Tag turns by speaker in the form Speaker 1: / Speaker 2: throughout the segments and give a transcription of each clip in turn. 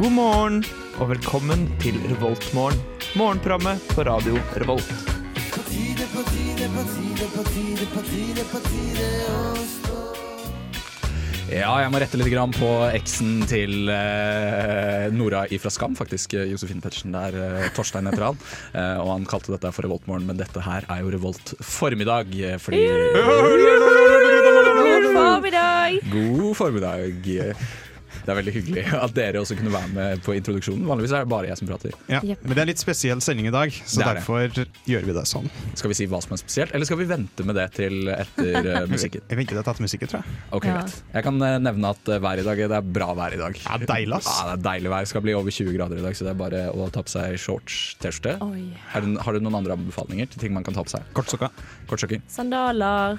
Speaker 1: God morgen og velkommen til Revoltmorgen. Morgenprogrammet på radio Revolt.
Speaker 2: Ja, jeg må rette litt grann på eksen til eh, Nora ifra Skam, faktisk. eh, Josefine Pettersen. Det er eh, Torstein heter han. Eh, og han kalte dette for Revoltmorgen, men dette her er jo Revolt formiddag. eh, Fordi
Speaker 3: God formiddag!
Speaker 2: God formiddag. Det er veldig hyggelig at dere også kunne være med på introduksjonen. Vanligvis er det bare jeg som prater.
Speaker 4: Ja,
Speaker 3: Jepp.
Speaker 4: Men det er litt spesiell sending i dag, så
Speaker 2: Det er det.
Speaker 4: derfor gjør vi det sånn.
Speaker 2: Skal vi si hva som er spesielt, eller skal vi vente med det til etter eh, musikken?
Speaker 4: Jeg venter til jeg har tatt musikken, tror jeg.
Speaker 2: Ok,
Speaker 3: Ja.
Speaker 2: greit. Jeg kan eh, nevne at eh, været i dag det er bra vær i dag.
Speaker 4: Ja, deilig, ass.
Speaker 2: Ja, det er deilig vær. Det skal bli over 20 grader i dag, så det er bare å ta på seg shorts, T-skjorte.
Speaker 3: Oi.
Speaker 2: Er det- Har du noen andre anbefalinger til ting man kan ta på seg?
Speaker 4: Kortsokka.
Speaker 2: Kortsokker,
Speaker 3: Sandaler,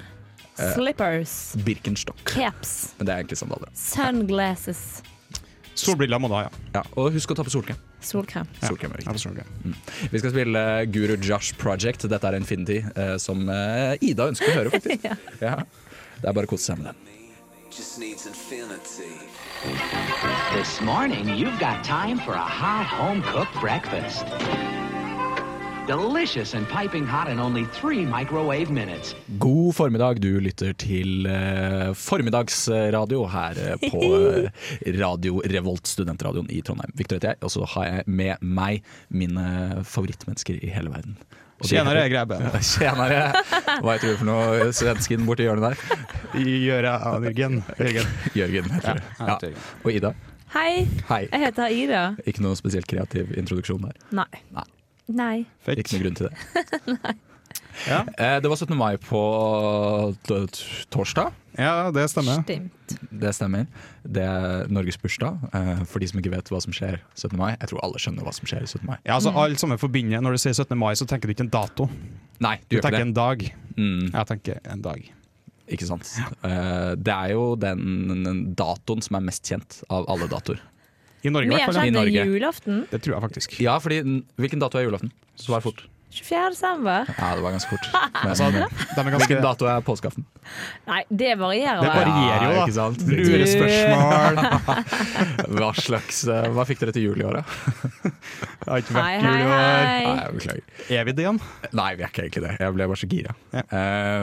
Speaker 2: Eh.
Speaker 3: slippers,
Speaker 2: Birkenstock.
Speaker 3: caps,
Speaker 2: Men det er egentlig sandaler.
Speaker 3: sunglasses,
Speaker 4: Solbriller må du ha, ja.
Speaker 2: Ja, og husk å ta på solkrem.
Speaker 3: solkrem.
Speaker 4: Ja.
Speaker 2: Solkrem er
Speaker 4: Ja,
Speaker 2: viktig.
Speaker 4: solbriller.
Speaker 2: Vi skal spille eh, Guru Josh Project. Dette er Infinity, eh, som eh, Ida ønsker å høre, faktisk. ja. Det er bare å kose seg med den.
Speaker 5: just needs infinity.
Speaker 6: This morning, you've got time for a hot home cooked breakfast. Delicious and piping hot in only three microwave minutes.
Speaker 2: God formiddag, du lytter til eh, formiddagsradio her eh, på eh, Radio Revolt, studentradioen i Trondheim. Victor heter jeg, og så har jeg med meg mine favorittmennesker i hele verden. Og de
Speaker 4: Tjenere,
Speaker 2: heter-
Speaker 4: grabbe.
Speaker 2: Tjenere! Hva heter du for noe, svensken borti hjørnet der?
Speaker 4: Gjøre av Jørgen. Jørgen.
Speaker 2: Jørgen heter du.
Speaker 4: jeg heter Jørgen.
Speaker 2: Og Ida?
Speaker 3: Hei,
Speaker 2: Hei.
Speaker 3: jeg heter Ida.
Speaker 2: Ikke noe spesielt kreativ introduksjon der.
Speaker 3: Nei.
Speaker 2: Nei.
Speaker 3: Nei.
Speaker 4: Fake.
Speaker 2: Ikke noe grunn til det.
Speaker 4: Ja.
Speaker 2: Eh, Det var 17. mai på t- t- torsdag.
Speaker 4: ja, det stemmer.
Speaker 3: Stimt.
Speaker 2: Det stemmer. Det er Norges bursdag. eh, For de som ikke vet hva som skjer 17. mai. Jeg tror alle skjønner hva som skjer 17. mai.
Speaker 4: Ja, altså
Speaker 3: Mm.
Speaker 4: Alle sammen forbinder Når du sier 17. mai, så tenker du ikke en dato.
Speaker 2: Nei,
Speaker 4: Du
Speaker 2: du gjør
Speaker 4: tenker
Speaker 2: ikke det.
Speaker 4: en dag.
Speaker 2: Mm,
Speaker 4: Jeg tenker en dag.
Speaker 2: ikke sant. Eh, Det er jo den datoen som er mest kjent av alle datoer.
Speaker 4: I Norge, i
Speaker 3: Mer
Speaker 4: hvert fall.
Speaker 3: kjent
Speaker 2: I
Speaker 3: enn
Speaker 2: Norge.
Speaker 3: julaften.
Speaker 4: Det tror jeg faktisk.
Speaker 2: Ja, fordi n- Hvilken dato er julaften? Svar fort.
Speaker 3: 24. desember.
Speaker 2: Ja, det var ganske fort.
Speaker 4: Altså,
Speaker 2: Men,
Speaker 4: de
Speaker 2: men,
Speaker 4: er ganske
Speaker 2: hvilken dato er påskeaften?
Speaker 3: Nei, det varierer.
Speaker 4: Det
Speaker 3: vel.
Speaker 4: varierer jo,
Speaker 2: Ja,
Speaker 4: da.
Speaker 2: ikke sant?
Speaker 4: Lure spørsmål.
Speaker 2: Hva slags eh, Hva fikk dere til jul i året?
Speaker 4: Det har ikke
Speaker 3: Hei,
Speaker 4: vært
Speaker 3: hei,
Speaker 4: jul i år.
Speaker 3: hei.
Speaker 2: Nei, jeg beklager.
Speaker 4: Er vi det igjen?
Speaker 2: Nei, vi er ikke egentlig det. Jeg ble bare så gira.
Speaker 4: Ja.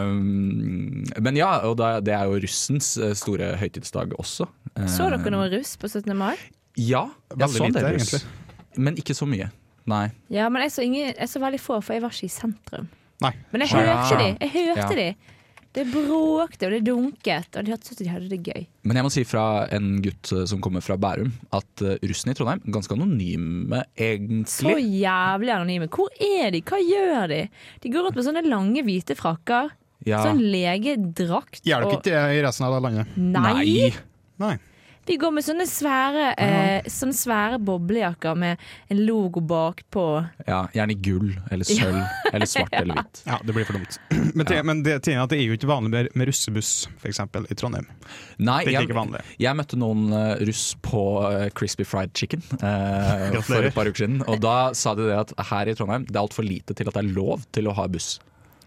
Speaker 2: Ehm, men ja, og da, det er jo russens eh, store høytidsdag også. Eh,
Speaker 3: Så dere noe russ på 17. mai?
Speaker 2: Ja, jeg
Speaker 4: Veldig
Speaker 2: så en del
Speaker 4: lite,
Speaker 2: russ. Men ikke så mye. Nei.
Speaker 3: Ja, men jeg så, ingen, jeg så veldig få, for jeg var ikke i sentrum.
Speaker 4: Nei.
Speaker 3: Men jeg
Speaker 2: Ja.
Speaker 3: hørte de. Jeg hørte
Speaker 2: Ja.
Speaker 3: de. Det bråkte og det dunket, og de hørtes ut som de hadde det gøy.
Speaker 2: Men jeg må si fra en gutt eh, som kommer fra Bærum, at eh, russen i Trondheim ganske anonyme,
Speaker 3: Så
Speaker 2: egentlig.
Speaker 3: jævlig anonyme. Hvor er de? Hva gjør de? De går rundt med sånne lange, hvite frakker.
Speaker 2: Ja.
Speaker 3: Sånn legedrakt.
Speaker 4: Gjør dere
Speaker 3: og-
Speaker 4: ikke det i resten av det landet?
Speaker 3: Nei.
Speaker 2: Nei.
Speaker 4: Nei.
Speaker 3: De går med sånne svære, eh, sånne svære boblejakker med en logo bakpå.
Speaker 2: Ja, gjerne i gull eller sølv eller svart eller hvitt.
Speaker 4: Ja, det blir for dumt. Men, det, men det, tingen er at det er jo ikke vanlig med, med russebuss, f.eks. i Trondheim.
Speaker 2: Nei,
Speaker 4: Det er
Speaker 2: jeg,
Speaker 4: ikke vanlig.
Speaker 2: jeg møtte noen eh, russ på eh, Crispy Fried Chicken eh,
Speaker 4: Gratulerer.
Speaker 2: for et par uker siden. Og da sa de det at her i Trondheim det er altfor lite til at det er lov til å ha buss.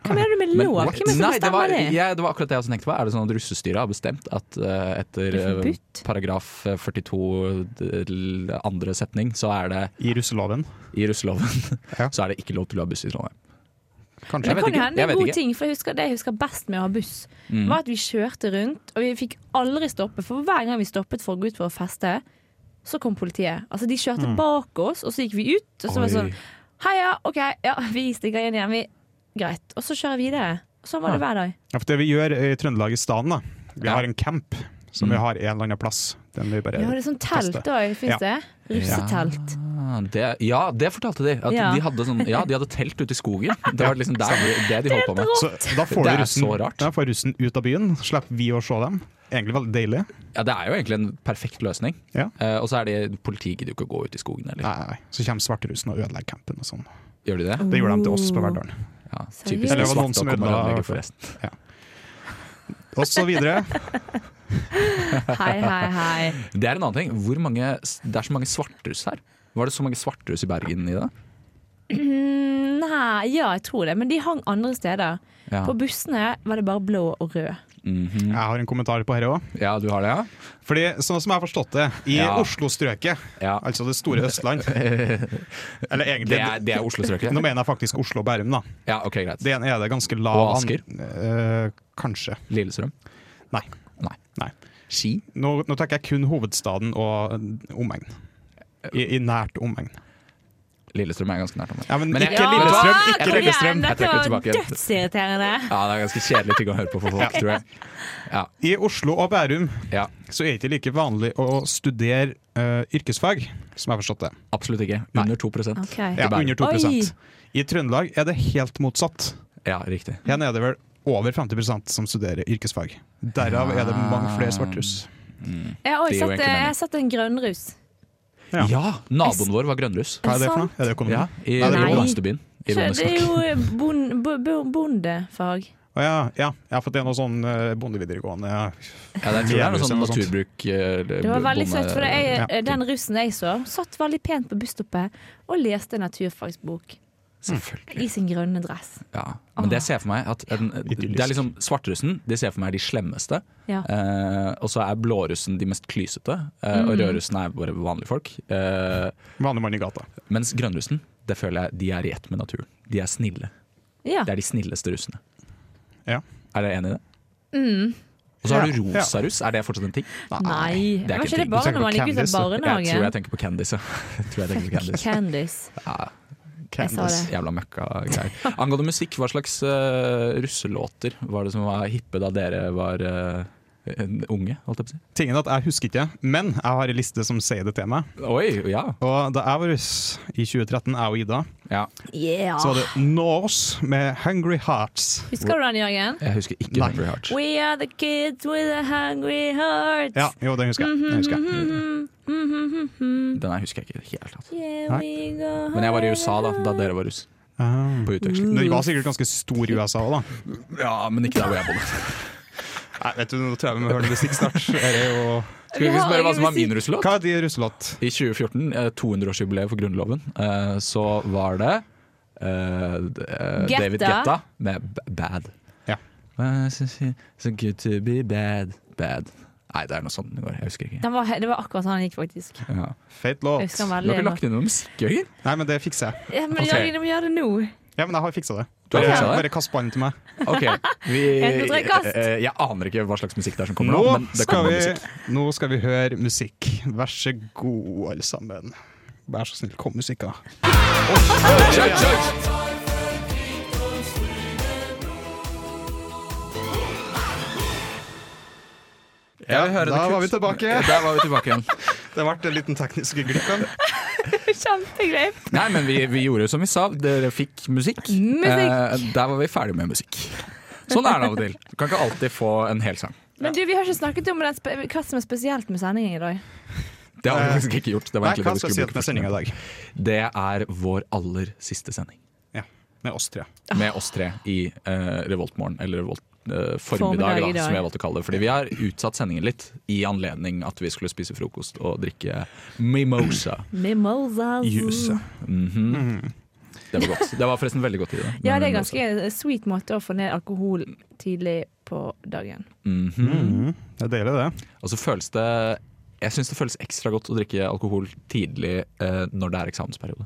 Speaker 3: Hva mener du med
Speaker 2: Men-
Speaker 3: lov? Hvem er det
Speaker 2: Nei,
Speaker 3: som
Speaker 2: det
Speaker 3: bestemmer
Speaker 2: var,
Speaker 3: det?
Speaker 2: jeg, det var akkurat det jeg også tenkte på. Er det sånn at russestyret har bestemt at eh, etter
Speaker 3: Det er
Speaker 2: eh,
Speaker 3: forbudt.
Speaker 2: paragraf 42 del andre setning, så er det
Speaker 4: I russeloven,
Speaker 2: i russeloven
Speaker 4: Ja.
Speaker 2: så er det ikke lov til å ha buss i Trondheim.
Speaker 3: Det
Speaker 4: kanskje.
Speaker 2: Jeg vet
Speaker 3: kan jo
Speaker 2: ikke,
Speaker 3: hende
Speaker 2: jeg
Speaker 3: en
Speaker 2: vet
Speaker 3: god
Speaker 2: ikke. Mm.
Speaker 3: ting, for jeg husker, det jeg husker best med å ha buss, var at vi kjørte rundt, og vi fikk aldri stoppe. For hver gang vi stoppet for å gå ut for å feste, så kom politiet. Altså, de kjørte bak oss, og så gikk vi ut, og så var det
Speaker 2: Mm. Oi.
Speaker 3: sånn Heia, OK, ja, vi stikker inn igjen, vi. Greit. Og så kjører vi videre. Og Sånn var det hver dag.
Speaker 4: Ja, for det vi gjør eh, i Trøndelag i staden, da. Vi
Speaker 2: Ja.
Speaker 4: har en camp som vi har en eller annen plass. Den vi bare
Speaker 3: Ja, det er sånn telt
Speaker 4: teste.
Speaker 3: òg, fins
Speaker 4: Ja.
Speaker 3: det? Russetelt.
Speaker 2: Ah, det, ja, det fortalte de. At
Speaker 3: Ja.
Speaker 2: de, hadde sånn, ja, de hadde telt ute i skogen. Det var liksom der, det de holdt på med.
Speaker 4: Så da får,
Speaker 2: Det
Speaker 4: du
Speaker 2: er
Speaker 4: russen,
Speaker 2: så rart.
Speaker 4: da får russen ut av byen, slipper vi å se dem. Egentlig veldig deilig.
Speaker 2: Ja, Det er jo egentlig en perfekt løsning.
Speaker 4: Ja.
Speaker 2: Eh, og så er det politiet gidder jo ikke å gå ut i skogen heller.
Speaker 4: Nei, nei. Så kommer svarterussen og ødelegger campen og sånn.
Speaker 2: Gjør de det?
Speaker 4: Det gjorde de til oss på Verdalen.
Speaker 2: Ja,
Speaker 3: Seriøst?
Speaker 2: typisk
Speaker 3: Eller
Speaker 4: det var noen
Speaker 2: svarte
Speaker 4: som
Speaker 2: å komme og
Speaker 4: ødela-
Speaker 2: ødelegge for resten.
Speaker 4: Og så videre.
Speaker 3: Hei, hei, hei.
Speaker 2: Det er en annen ting. Hvor mange, det er så mange svartruss her. Var det så mange svartruss i Bergen i det?
Speaker 3: Mm, Nei, ja, jeg tror det. Men de hang andre steder.
Speaker 2: Ja.
Speaker 3: På bussene var det bare blå og rød.
Speaker 4: Jeg har en kommentar på dette òg.
Speaker 2: Ja, du har det, ja?
Speaker 4: Fordi, sånn som jeg har forstått det, i
Speaker 2: Ja.
Speaker 4: Oslo-strøket,
Speaker 2: Ja.
Speaker 4: altså det store Østland Eller egentlig
Speaker 2: Det er, det er Oslo-strøket?
Speaker 4: Nå mener jeg faktisk Oslo og Bærum, da.
Speaker 2: Ja, ok, greit.
Speaker 4: Det ene er det ganske lav
Speaker 2: Og Asker?
Speaker 4: an- eh, kanskje.
Speaker 2: Lillestrøm?
Speaker 4: Nei.
Speaker 2: Nei.
Speaker 4: Nei.
Speaker 2: Ski?
Speaker 4: Nå, nå tenker jeg kun hovedstaden og eh, omegn. I, I nært omegn.
Speaker 2: Lillestrøm er ganske nært om det.
Speaker 4: Ja, men
Speaker 2: Men jeg-
Speaker 4: ikke Lillestrøm!
Speaker 2: ikke
Speaker 3: kom igjen,
Speaker 2: Lillestrøm. Jeg trekker
Speaker 3: Dette
Speaker 2: det
Speaker 3: var
Speaker 2: tilbake igjen.
Speaker 3: dødsirriterende.
Speaker 2: Ja, det er ganske kjedelig ting å høre på for folk, tror jeg.
Speaker 4: I Oslo og Bærum
Speaker 2: Ja,
Speaker 4: så er det ikke like vanlig å studere eh, yrkesfag, som jeg har forstått det.
Speaker 2: Absolutt ikke. Under 2
Speaker 3: Ok.
Speaker 4: Ja,
Speaker 2: I Bærum.
Speaker 4: under 2
Speaker 3: Oi.
Speaker 4: I Trøndelag er det helt motsatt.
Speaker 2: Ja, riktig.
Speaker 4: Her nede er det vel over 50 som studerer yrkesfag. Derav er det mange flere svartrus.
Speaker 3: Jeg har
Speaker 2: Det
Speaker 3: også
Speaker 2: er jo egentlig
Speaker 3: sett, jeg har sett eh, en grønnrus.
Speaker 4: Ja.
Speaker 2: Ja, naboen vår var grønnlus.
Speaker 4: Hva er det for noe? Er det økonomi?
Speaker 2: Ja, I
Speaker 4: Nei,
Speaker 3: det er ikke-
Speaker 2: landsbyen. I
Speaker 3: Så Det er
Speaker 2: Bondeskog.
Speaker 3: jo bon- bo- bo- bondefag.
Speaker 4: Å ja, ja, ja, for det er noe sånn eh, bondevideregående
Speaker 2: Ja,
Speaker 4: ja.
Speaker 2: det er, jeg tror det er noe sånn
Speaker 4: Eller noe sånt.
Speaker 2: naturbruk eh,
Speaker 3: Det var veldig
Speaker 2: bonde-
Speaker 3: søtt, for jeg,
Speaker 4: Ja.
Speaker 3: den russen jeg så, satt veldig pent på busstoppet og leste en naturfagsbok
Speaker 2: Selvfølgelig.
Speaker 3: i sin grønne dress.
Speaker 2: Ja. Men det jeg ser for meg at en, Det er liksom svartrussen, de ser for meg er de slemmeste.
Speaker 3: Ja.
Speaker 2: Eh, og så er blårussen de mest klysete. Eh, Og rødrussen er bare vanlige folk. Eh,
Speaker 4: vanlig mann i gata.
Speaker 2: mens grønnrussen, det føler jeg de er i ett med naturen. De er snille.
Speaker 3: Ja.
Speaker 2: Det er de snilleste russene.
Speaker 4: Ja.
Speaker 2: Er dere enig i det? Og så har du
Speaker 4: Ja. Ja.
Speaker 2: rosarus. Er det fortsatt en ting?
Speaker 3: Mm. Nei,
Speaker 2: det er
Speaker 3: var
Speaker 2: ikke
Speaker 3: ikke det
Speaker 2: ting.
Speaker 3: bare
Speaker 4: Du tenker
Speaker 3: når man
Speaker 4: på
Speaker 3: gikk ut av
Speaker 4: Candice, da.
Speaker 2: Jeg tror jeg
Speaker 3: barnehagen?
Speaker 2: tenker på Candice. ja. Jeg tror jeg tenker på Candice.
Speaker 3: Candice. Jeg sa det.
Speaker 2: Jævla møkka-greier. Angående musikk, hva slags eh, russelåter var det som var hippe da dere var eh, en unge? Holdt jeg på å si.
Speaker 4: Tingen er at Jeg husker ikke, men jeg har en liste som sier det til meg.
Speaker 2: Oi, ja.
Speaker 4: Og Da jeg var russ i 2013, jeg og Ida,
Speaker 2: ja.
Speaker 3: Yeah.
Speaker 4: så var det Norse med 'Hungry Hearts'.
Speaker 3: Husker du den, Jørgen?
Speaker 2: Jeg husker ikke
Speaker 4: Nei.
Speaker 2: Hungry Heart.
Speaker 3: We are the kids with a hungry heart.
Speaker 4: Ja, jo, den husker jeg. Den husker
Speaker 3: Mhm,
Speaker 4: jeg.
Speaker 2: Den her husker jeg ikke i det hele tatt.
Speaker 3: Yeah, we go home.
Speaker 2: Men jeg var i USA da, da dere var russ.
Speaker 4: Ah.
Speaker 2: På utveksling.
Speaker 4: Den var sikkert ganske stor i USA òg, da.
Speaker 2: Ja, men ikke der hvor jeg bodde.
Speaker 4: Nei, vet du, Nå tror jeg vi må høre noe musikk snart. Er det jo...
Speaker 2: Skal vi spørre hva som var min russelåt?
Speaker 4: Hva er de russelåt?
Speaker 2: I 2014, eh, 200-årsjubileet for Grunnloven, eh, så var det eh, d- eh,
Speaker 3: Getta.
Speaker 2: David Getta med B- Bad.
Speaker 4: Ja.
Speaker 2: Eh, so- so- So good to be bad, bad. Nei, det er noe sånt det går. Jeg husker ikke.
Speaker 3: Den var, he- det var akkurat sånn den gikk, faktisk.
Speaker 2: Ja.
Speaker 4: Feit
Speaker 3: Jeg
Speaker 4: låt.
Speaker 3: husker den
Speaker 2: Du har
Speaker 3: veldig
Speaker 2: ikke lagt inn noe musikk, Jørgen?
Speaker 4: Nei, men det fikser jeg.
Speaker 3: Ja, men
Speaker 2: Ok.
Speaker 3: Jørgen, vi gjør det nå.
Speaker 4: Ja, men jeg har fiksa det.
Speaker 2: Du har
Speaker 4: Bare,
Speaker 2: fiksa det?
Speaker 4: bare kast ballen til meg.
Speaker 2: Ok, vi,
Speaker 3: En, to, tre, kast.
Speaker 2: eh, jeg aner ikke hva slags musikk det er som kommer
Speaker 4: Nå
Speaker 2: nå. Men det
Speaker 4: skal,
Speaker 2: kommer
Speaker 4: vi,
Speaker 2: musikk.
Speaker 4: nå skal vi høre musikk. Vær så god, alle sammen. Vær så snill, kom musikka.
Speaker 2: Ja, vi hører
Speaker 4: da
Speaker 2: det
Speaker 4: var vi
Speaker 2: kult.
Speaker 4: tilbake.
Speaker 2: Der var vi tilbake igjen.
Speaker 4: Det ble en liten teknisk glipp. her.
Speaker 3: Kjempegreit.
Speaker 2: Nei, men vi, vi gjorde jo som vi sa. Dere fikk musikk.
Speaker 3: Musikk.
Speaker 2: Eh, der var vi ferdig med musikk. Sånn er det av og til. Du kan ikke alltid få en hel sang.
Speaker 3: Men du, vi har ikke snakket om den spe hva som er spesielt med sendingen i dag.
Speaker 2: Det har vi faktisk ikke gjort. Det, var
Speaker 4: Eh,
Speaker 2: egentlig
Speaker 4: Nei, hva
Speaker 2: det, vi
Speaker 4: skal
Speaker 2: skulle
Speaker 4: jeg si
Speaker 2: bruke
Speaker 4: med sendinga i
Speaker 2: først.
Speaker 4: dag?
Speaker 2: det er vår aller siste sending
Speaker 4: Ja, Med oss tre.
Speaker 2: med oss tre i eh, Revoltmorgen, eller Revolt eh, formiddag,
Speaker 3: Formiddag
Speaker 2: da,
Speaker 3: i dag.
Speaker 2: som jeg valgte å kalle det. Fordi vi har utsatt sendingen litt i anledning at vi skulle spise frokost og drikke mimosa
Speaker 3: Mimosas.
Speaker 2: juice.
Speaker 4: Mhm.
Speaker 2: Det var godt. Det var forresten veldig godt i det.
Speaker 3: Ja, det er ganske sweet måte å få ned alkohol tidlig på dagen.
Speaker 2: Mhm.
Speaker 4: Mm. Det er deilig, det.
Speaker 2: Og så føles det Jeg syns det føles ekstra godt å drikke alkohol tidlig eh, når det er eksamensperiode.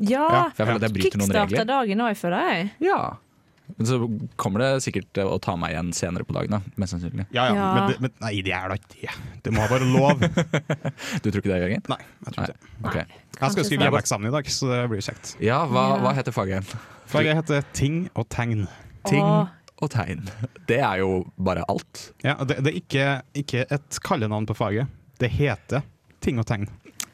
Speaker 3: Ja!
Speaker 2: For jeg føler at jeg bryter noen regler.
Speaker 3: Kickstarter dagen òg, føler jeg.
Speaker 2: Ja. Men så kommer det sikkert til å ta meg igjen senere på dagen, da. Mest sannsynlig.
Speaker 4: Ja, ja.
Speaker 3: Ja.
Speaker 4: Men, det, men nei, det er da ikke det. Det må være lov.
Speaker 2: Du tror ikke det, Jørgen?
Speaker 4: Nei, jeg tror ikke det.
Speaker 2: Ok.
Speaker 4: Jeg skal
Speaker 3: Kanskje
Speaker 4: skrive
Speaker 3: så.
Speaker 4: hjemmeeksamen i dag, så det blir jo kjekt.
Speaker 2: Ja, hva,
Speaker 3: Ja.
Speaker 2: hva heter faget igjen?
Speaker 4: For jeg heter Ting og tegn.
Speaker 2: Ting
Speaker 3: Åh.
Speaker 2: og tegn. Det er jo bare alt.
Speaker 4: Ja, og det, det er ikke, ikke et kallenavn på faget. Det heter ting og tegn.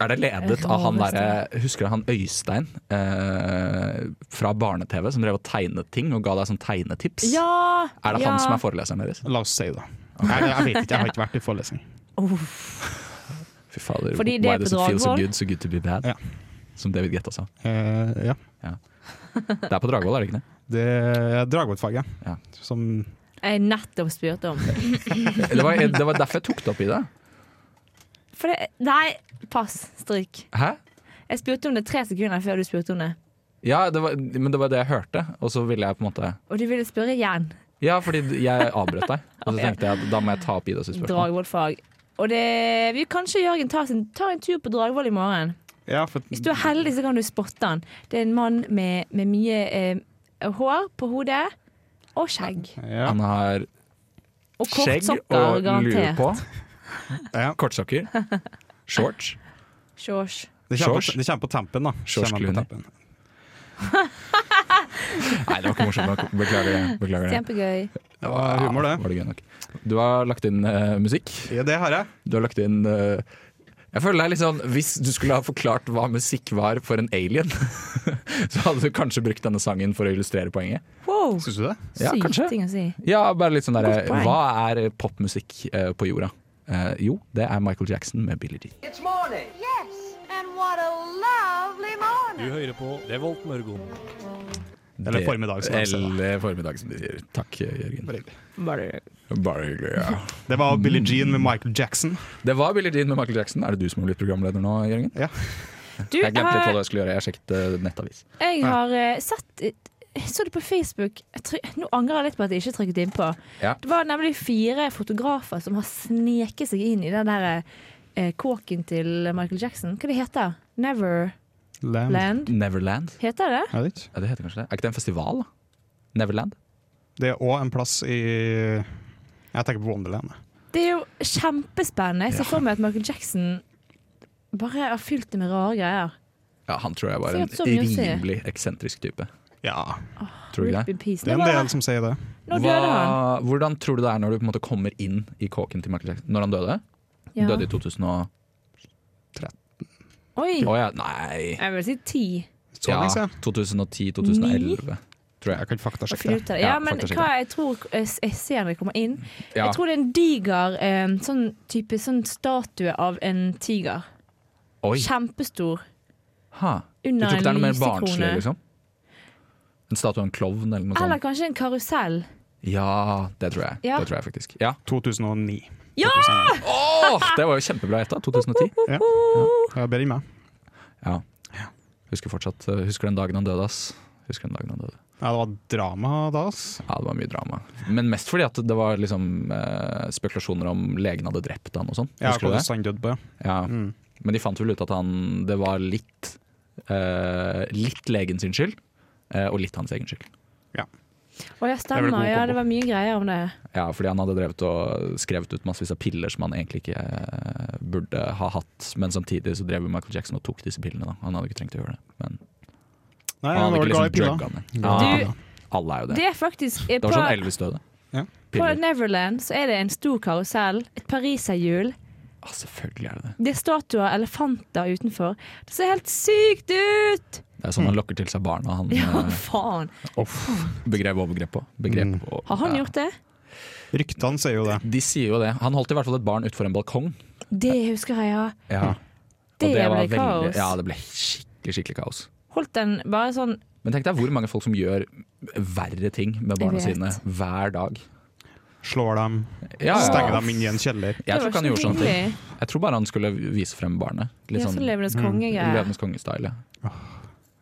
Speaker 2: Er det ledet av han derre Husker du han Øystein eh, fra barne-TV som drev og tegnet ting og ga deg sånn tegnetips?
Speaker 3: Ja!
Speaker 2: Er det
Speaker 3: ja.
Speaker 2: han som er foreleseren deres?
Speaker 4: La oss si det. Jeg, jeg vet ikke, jeg har ikke vært i forelesning.
Speaker 2: Fy fader,
Speaker 3: Fordi det
Speaker 2: why
Speaker 3: er på
Speaker 2: does it feel so
Speaker 3: Dragvoll?
Speaker 2: good, so good to be bad?
Speaker 4: Ja.
Speaker 2: Som David Getta sa.
Speaker 4: Eh, ja.
Speaker 2: Det er på Dragvoll, er det ikke det?
Speaker 4: Det er Dragvoll-faget.
Speaker 2: Ja.
Speaker 4: Som
Speaker 3: Jeg nettopp spurte om.
Speaker 2: Det var, det var derfor jeg tok det opp i det.
Speaker 3: For det Nei, pass. Stryk.
Speaker 2: Hæ?
Speaker 3: Jeg spurte om det tre sekunder før du spurte om det.
Speaker 2: Ja, det var, men det var det jeg hørte, og så ville jeg på en måte
Speaker 3: Og du ville spørre igjen.
Speaker 2: Ja, fordi jeg avbrøt deg. Og så tenkte jeg at da må jeg ta opp Ida sitt spørsmål.
Speaker 3: Dragvoll-fag. Og det, vi Kanskje Jørgen tar, sin, tar en tur på Dragvoll i morgen.
Speaker 4: Ja, for
Speaker 3: Hvis du er heldig, så kan du spotte han. Det er en mann med, med mye eh, hår på hodet. Og skjegg.
Speaker 4: ja,
Speaker 2: Han har
Speaker 3: Og
Speaker 2: skjegg
Speaker 3: kortsokker,
Speaker 2: og lue
Speaker 3: garantert.
Speaker 2: på.
Speaker 4: ja.
Speaker 2: Kortsokker. Shorts.
Speaker 3: Shorts.
Speaker 4: Det kommer
Speaker 2: Shorts.
Speaker 4: på, det kommer på tampen, da.
Speaker 2: Shorts
Speaker 4: Kommer på
Speaker 2: Clooney.
Speaker 4: tampen.
Speaker 2: Nei, det var ikke morsomt nok. Beklager det. Beklager det.
Speaker 3: Kjempegøy.
Speaker 4: Det var humor,
Speaker 2: Ja,
Speaker 4: det.
Speaker 2: var det gøy nok. Du har lagt inn eh, musikk.
Speaker 4: Ja, det har jeg.
Speaker 2: Du har lagt inn eh, Jeg føler det er litt sånn Hvis du skulle ha forklart hva musikk var for en alien, så hadde du kanskje brukt denne sangen for å illustrere poenget.
Speaker 3: Wow.
Speaker 4: Syns du det?
Speaker 2: Ja,
Speaker 3: Sykt
Speaker 2: kanskje.
Speaker 3: ting å si.
Speaker 2: Ja, bare litt sånn der,
Speaker 3: Godt poeng.
Speaker 2: Hva er popmusikk eh, på jorda? Eh, jo, det er Michael Jackson med Billie Jean.
Speaker 7: It's morning.
Speaker 8: Yes, and what a lovely morning.
Speaker 9: hører på Revolt Mørgon.
Speaker 4: Eller formiddag, som de sier, da.
Speaker 2: Eller formiddag, som de sier. Takk, Jørgen.
Speaker 4: Bare hyggelig.
Speaker 3: Bare
Speaker 2: Bare hyggelig, ja.
Speaker 4: Det var Billie Jean med Michael Jackson.
Speaker 2: Det var Billie Jean med Michael Jackson. Er det du som har blitt programleder nå, Jørgen?
Speaker 4: Ja.
Speaker 3: Du,
Speaker 2: Jeg glemte litt
Speaker 3: eh,
Speaker 2: hva jeg skulle gjøre. Jeg sjekket eh, nettavis.
Speaker 3: jeg har eh, sett Jeg så det på Facebook. Jeg tryk, nå angrer jeg litt på at jeg ikke trykket innpå.
Speaker 2: Ja.
Speaker 3: Det var nemlig fire fotografer som har sneket seg inn i den der eh, kåken til Michael Jackson. Hva det heter det? Neverland?
Speaker 4: Land.
Speaker 2: Neverland?
Speaker 3: Heter det det?
Speaker 4: Er det ikke?
Speaker 2: Ja, det heter kanskje det. Er ikke det en festival, da? Neverland?
Speaker 4: Det er òg en plass i Jeg tenker på Wonderland. jeg.
Speaker 3: Det er jo kjempespennende. Jeg ser for meg at Michael Jackson bare har fylt det med rare greier.
Speaker 2: Ja, han tror jeg var en
Speaker 3: Sikkert så mye å si.
Speaker 2: rimelig eksentrisk type.
Speaker 4: Ja,
Speaker 2: Tror du ikke
Speaker 3: Rip
Speaker 2: det?
Speaker 3: in peace.
Speaker 4: det er
Speaker 3: Nå
Speaker 4: en
Speaker 3: var-
Speaker 4: del som sier det.
Speaker 3: Nå døde han.
Speaker 2: Hva- Hvordan tror du det er når du på en måte kommer inn i kåken til Michael Jackson? Når han døde?
Speaker 3: Ja.
Speaker 2: Døde i 2000 og...
Speaker 3: Oi.
Speaker 2: Å ja, nei.
Speaker 3: Jeg vil si ti.
Speaker 4: Så lenge siden.
Speaker 2: 2010-2011, tror
Speaker 4: Jeg
Speaker 2: jeg.
Speaker 4: kan
Speaker 3: å
Speaker 4: faktasjekke
Speaker 3: finne
Speaker 4: det.
Speaker 3: ut av det. Ja,
Speaker 2: Ja,
Speaker 3: men
Speaker 2: faktisk
Speaker 3: hva jeg tror jeg, jeg ser når jeg kommer inn
Speaker 2: Ja.
Speaker 3: Jeg tror det er en diger eh, sånn type sånn statue av en tiger.
Speaker 2: Oi!
Speaker 3: Kjempestor.
Speaker 2: Ha. Du
Speaker 3: Under
Speaker 2: tror ikke det er
Speaker 3: en
Speaker 2: noe mer barnslig,
Speaker 3: lysekrone.
Speaker 2: liksom? sånn. En statue av en klovn eller noe
Speaker 3: Eller
Speaker 2: sånt?
Speaker 3: kanskje en karusell.
Speaker 2: Ja, det tror jeg.
Speaker 3: Ja.
Speaker 2: Det tror jeg faktisk. Ja.
Speaker 4: 2009.
Speaker 3: Ja!
Speaker 4: 2009.
Speaker 2: Åh, det var jo kjempebra gjetta. 2010.
Speaker 4: Ja. Det er bedre enn meg.
Speaker 2: Ja. Husker fortsatt eh, Husker den dagen han døde, ass. Husker den dagen han døde.
Speaker 4: Ja, det var drama da, ass.
Speaker 2: Ja, det var mye drama. Men mest fordi at det var liksom eh, spekulasjoner om legen hadde drept han og sånn.
Speaker 4: Ja,
Speaker 2: Husker du det?
Speaker 4: Kodestand død på, ja.
Speaker 2: Ja.
Speaker 4: Mm.
Speaker 2: Men de fant vel ut at han Det var litt eh, Litt legen sin skyld, eh, og litt hans egen skyld.
Speaker 3: Å ja,
Speaker 4: Det er vel
Speaker 3: stemmer.
Speaker 4: god
Speaker 3: Ja,
Speaker 4: kombo.
Speaker 3: det var mye greier om det.
Speaker 2: Ja, fordi han hadde drevet og skrevet ut massevis av piller som han egentlig ikke eh, burde ha hatt, men samtidig så drev Michael Jackson og tok disse pillene. da Han hadde ikke trengt å gjøre det, men
Speaker 4: Nei,
Speaker 2: han
Speaker 4: han
Speaker 2: hadde
Speaker 4: var
Speaker 2: ikke
Speaker 4: glad i
Speaker 2: liksom
Speaker 4: pilla.
Speaker 2: drugga han.
Speaker 3: Du-
Speaker 2: Ja, alle er jo det.
Speaker 3: Det er faktisk eh,
Speaker 2: Det var sånn
Speaker 3: på,
Speaker 2: Elvis døde.
Speaker 4: Ja.
Speaker 3: på
Speaker 2: Piller.
Speaker 3: Neverland så er det en stor karusell. Et pariserhjul.
Speaker 2: Ja, Ah, selvfølgelig er det det.
Speaker 3: Det er statuer av elefanter utenfor. Det ser helt sykt ut!
Speaker 2: Det er sånn han
Speaker 4: Mm.
Speaker 2: lokker til seg barna han
Speaker 3: Ja,
Speaker 2: eh,
Speaker 3: faen.
Speaker 2: begrep overgrep på. Begrep
Speaker 4: Mm.
Speaker 2: og-
Speaker 3: Har han
Speaker 2: ja.
Speaker 3: gjort det?
Speaker 4: Ryktene sier jo det.
Speaker 2: De sier jo det. Han holdt i hvert fall et barn utfor en balkong.
Speaker 3: Det husker jeg, ja.
Speaker 2: Ja.
Speaker 3: Det,
Speaker 2: Og
Speaker 3: ble
Speaker 2: var veldig-
Speaker 3: kaos.
Speaker 2: Ja, det ble skikkelig, skikkelig kaos.
Speaker 3: Holdt den bare sånn
Speaker 2: Men tenk deg hvor mange folk som gjør verre ting med barna
Speaker 3: Jeg vet.
Speaker 2: sine hver dag.
Speaker 4: Slår dem,
Speaker 2: Ja,
Speaker 4: stenger dem inn i en kjeller.
Speaker 2: Jeg
Speaker 3: det
Speaker 2: tror
Speaker 3: var
Speaker 2: ikke han
Speaker 3: så
Speaker 2: gjorde sånne ting.
Speaker 3: hyggelig.
Speaker 2: Jeg tror bare han skulle vise frem barnet. Litt
Speaker 3: Ja,
Speaker 2: sånn
Speaker 3: sånn Løvenes konge-greier.
Speaker 2: Løvenes konge-style.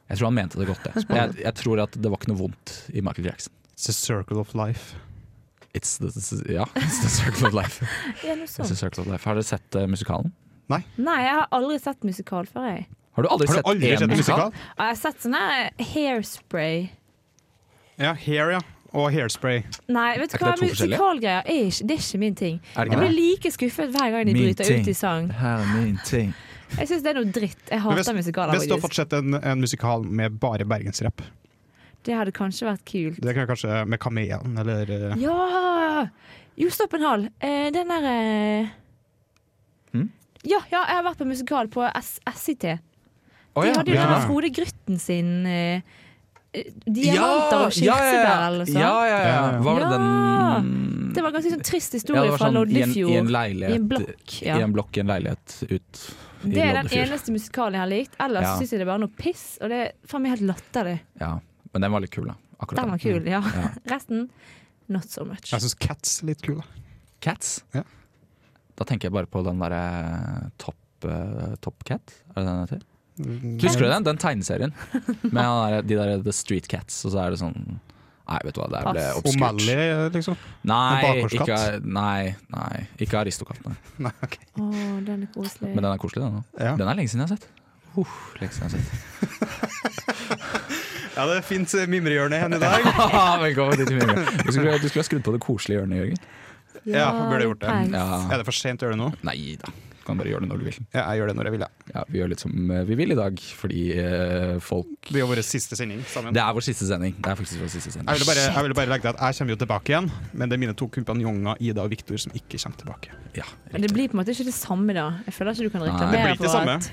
Speaker 2: Jeg tror han mente det godt. Jeg. Jeg, jeg tror at det var ikke noe vondt i Michael Jackson.
Speaker 4: It's a circle of life.
Speaker 2: It's the, it's the- ja, it's the circle of life.
Speaker 3: Ja, noe
Speaker 2: It's
Speaker 3: sånt.
Speaker 2: the circle of life. Har dere sett eh, musikalen?
Speaker 3: Nei, jeg har aldri sett musikal før, jeg.
Speaker 2: Har du aldri
Speaker 4: Har
Speaker 2: sett
Speaker 4: du aldri
Speaker 2: én
Speaker 4: sett en musikal?
Speaker 3: Jeg har sett sånn her hairspray.
Speaker 4: Ja, Hair, ja. Og Hairspray.
Speaker 3: Nei, vet du
Speaker 2: Er ikke
Speaker 3: hva,
Speaker 2: det to forskjellige?
Speaker 3: musikalgreier er ikke, det er ikke min ting.
Speaker 2: Er det
Speaker 3: Jeg
Speaker 2: ikke
Speaker 3: blir
Speaker 2: det?
Speaker 3: like skuffet hver gang de
Speaker 2: Min
Speaker 3: bryter
Speaker 2: ting.
Speaker 3: ut i sang.
Speaker 2: Her er min ting.
Speaker 3: Jeg syns det er noe dritt. Jeg
Speaker 4: Men
Speaker 3: hater musikaler,
Speaker 4: hvis du har
Speaker 3: faktisk.
Speaker 4: fått sett en, en musikal med bare bergensrapp,
Speaker 3: Det hadde kanskje vært kult.
Speaker 4: det kan kanskje med Kamelen eller eh,
Speaker 3: Ja! Jo, stopp en hal. Eh, den derre
Speaker 2: Hm?
Speaker 3: Ja, ja, jeg har vært på musikal på S SIT.
Speaker 2: Å
Speaker 3: De
Speaker 2: ja.
Speaker 3: hadde jo
Speaker 4: Ja.
Speaker 3: den der Frode Grytten sin eh, eh, Diamanter
Speaker 2: ja,
Speaker 3: og
Speaker 2: ja, ja.
Speaker 3: kirsebær eller noe sånt.
Speaker 2: Ja, ja, ja.
Speaker 4: Ja.
Speaker 2: Var det
Speaker 3: Ja.
Speaker 2: den
Speaker 3: Det var en ganske sånn trist
Speaker 2: Ja,
Speaker 3: historie
Speaker 2: det var
Speaker 3: fra
Speaker 2: sånn i en-
Speaker 3: Loddefjord.
Speaker 2: I en leilighet.
Speaker 3: I en blokk, ja.
Speaker 2: I en blokk i en leilighet ut i
Speaker 3: Det er den
Speaker 2: Loddefjord.
Speaker 3: eneste musikalen jeg har likt. Ellers
Speaker 2: Ja.
Speaker 3: synes syns jeg det er bare noe piss. Og det er faen meg helt latterlig.
Speaker 2: Ja. Men den var litt kul, da. Akkurat Mm.
Speaker 3: Den var kul, ja.
Speaker 2: Ja.
Speaker 3: Resten not so much.
Speaker 4: Jeg syns Cats er litt kul. da.
Speaker 2: Cats?
Speaker 4: Ja.
Speaker 2: Da tenker jeg bare på den derre Top, eh, top Cat, er det den heter?
Speaker 4: Mm,
Speaker 2: Husker du den? Den tegneserien. Med han derre- de der The Street Cats, og så er det sånn Nei, vet du hva, det er vel
Speaker 3: Pass.
Speaker 2: obskurt.
Speaker 4: O'Malley, liksom?
Speaker 2: Nei,
Speaker 4: En bakgårdskatt?
Speaker 2: ikke, nei, nei, ikke Aristokatten. nei.
Speaker 4: Nei, ok.
Speaker 3: Å, den er koselig.
Speaker 2: Men den er koselig, den. da.
Speaker 4: Ja.
Speaker 2: Den er lenge siden jeg har sett. Uff, lenge siden jeg har sett.
Speaker 4: ja, det fins mimrehjørne igjen i dag.
Speaker 2: Haha, Velkommen dit, Mimre. Du skulle, du skulle ha skrudd på det koselige hjørnet, Jørgen.
Speaker 4: Ja, burde gjort det.
Speaker 3: thanks.
Speaker 4: Er
Speaker 2: Ja.
Speaker 4: det for sent å gjøre det nå?
Speaker 2: Nei da. Du kan bare gjøre det når du vil.
Speaker 4: Ja, jeg gjør det når jeg vil, ja.
Speaker 2: Ja, Vi gjør litt som eh, vi vil i dag, fordi eh, folk
Speaker 4: Det blir jo vår siste sending sammen.
Speaker 2: Det er vår siste sending. Det er faktisk vår siste sending.
Speaker 4: Jeg ville bare, jeg ville bare legge til at jeg kommer jo tilbake igjen, men det er mine to kompanjonger Ida og Viktor som ikke kommer tilbake.
Speaker 2: Ja,
Speaker 3: Men Det blir på en måte ikke det samme, da. Jeg føler ikke du kan
Speaker 2: Det
Speaker 4: blir
Speaker 3: reklamere
Speaker 4: ikke det
Speaker 3: for
Speaker 4: samme.
Speaker 3: at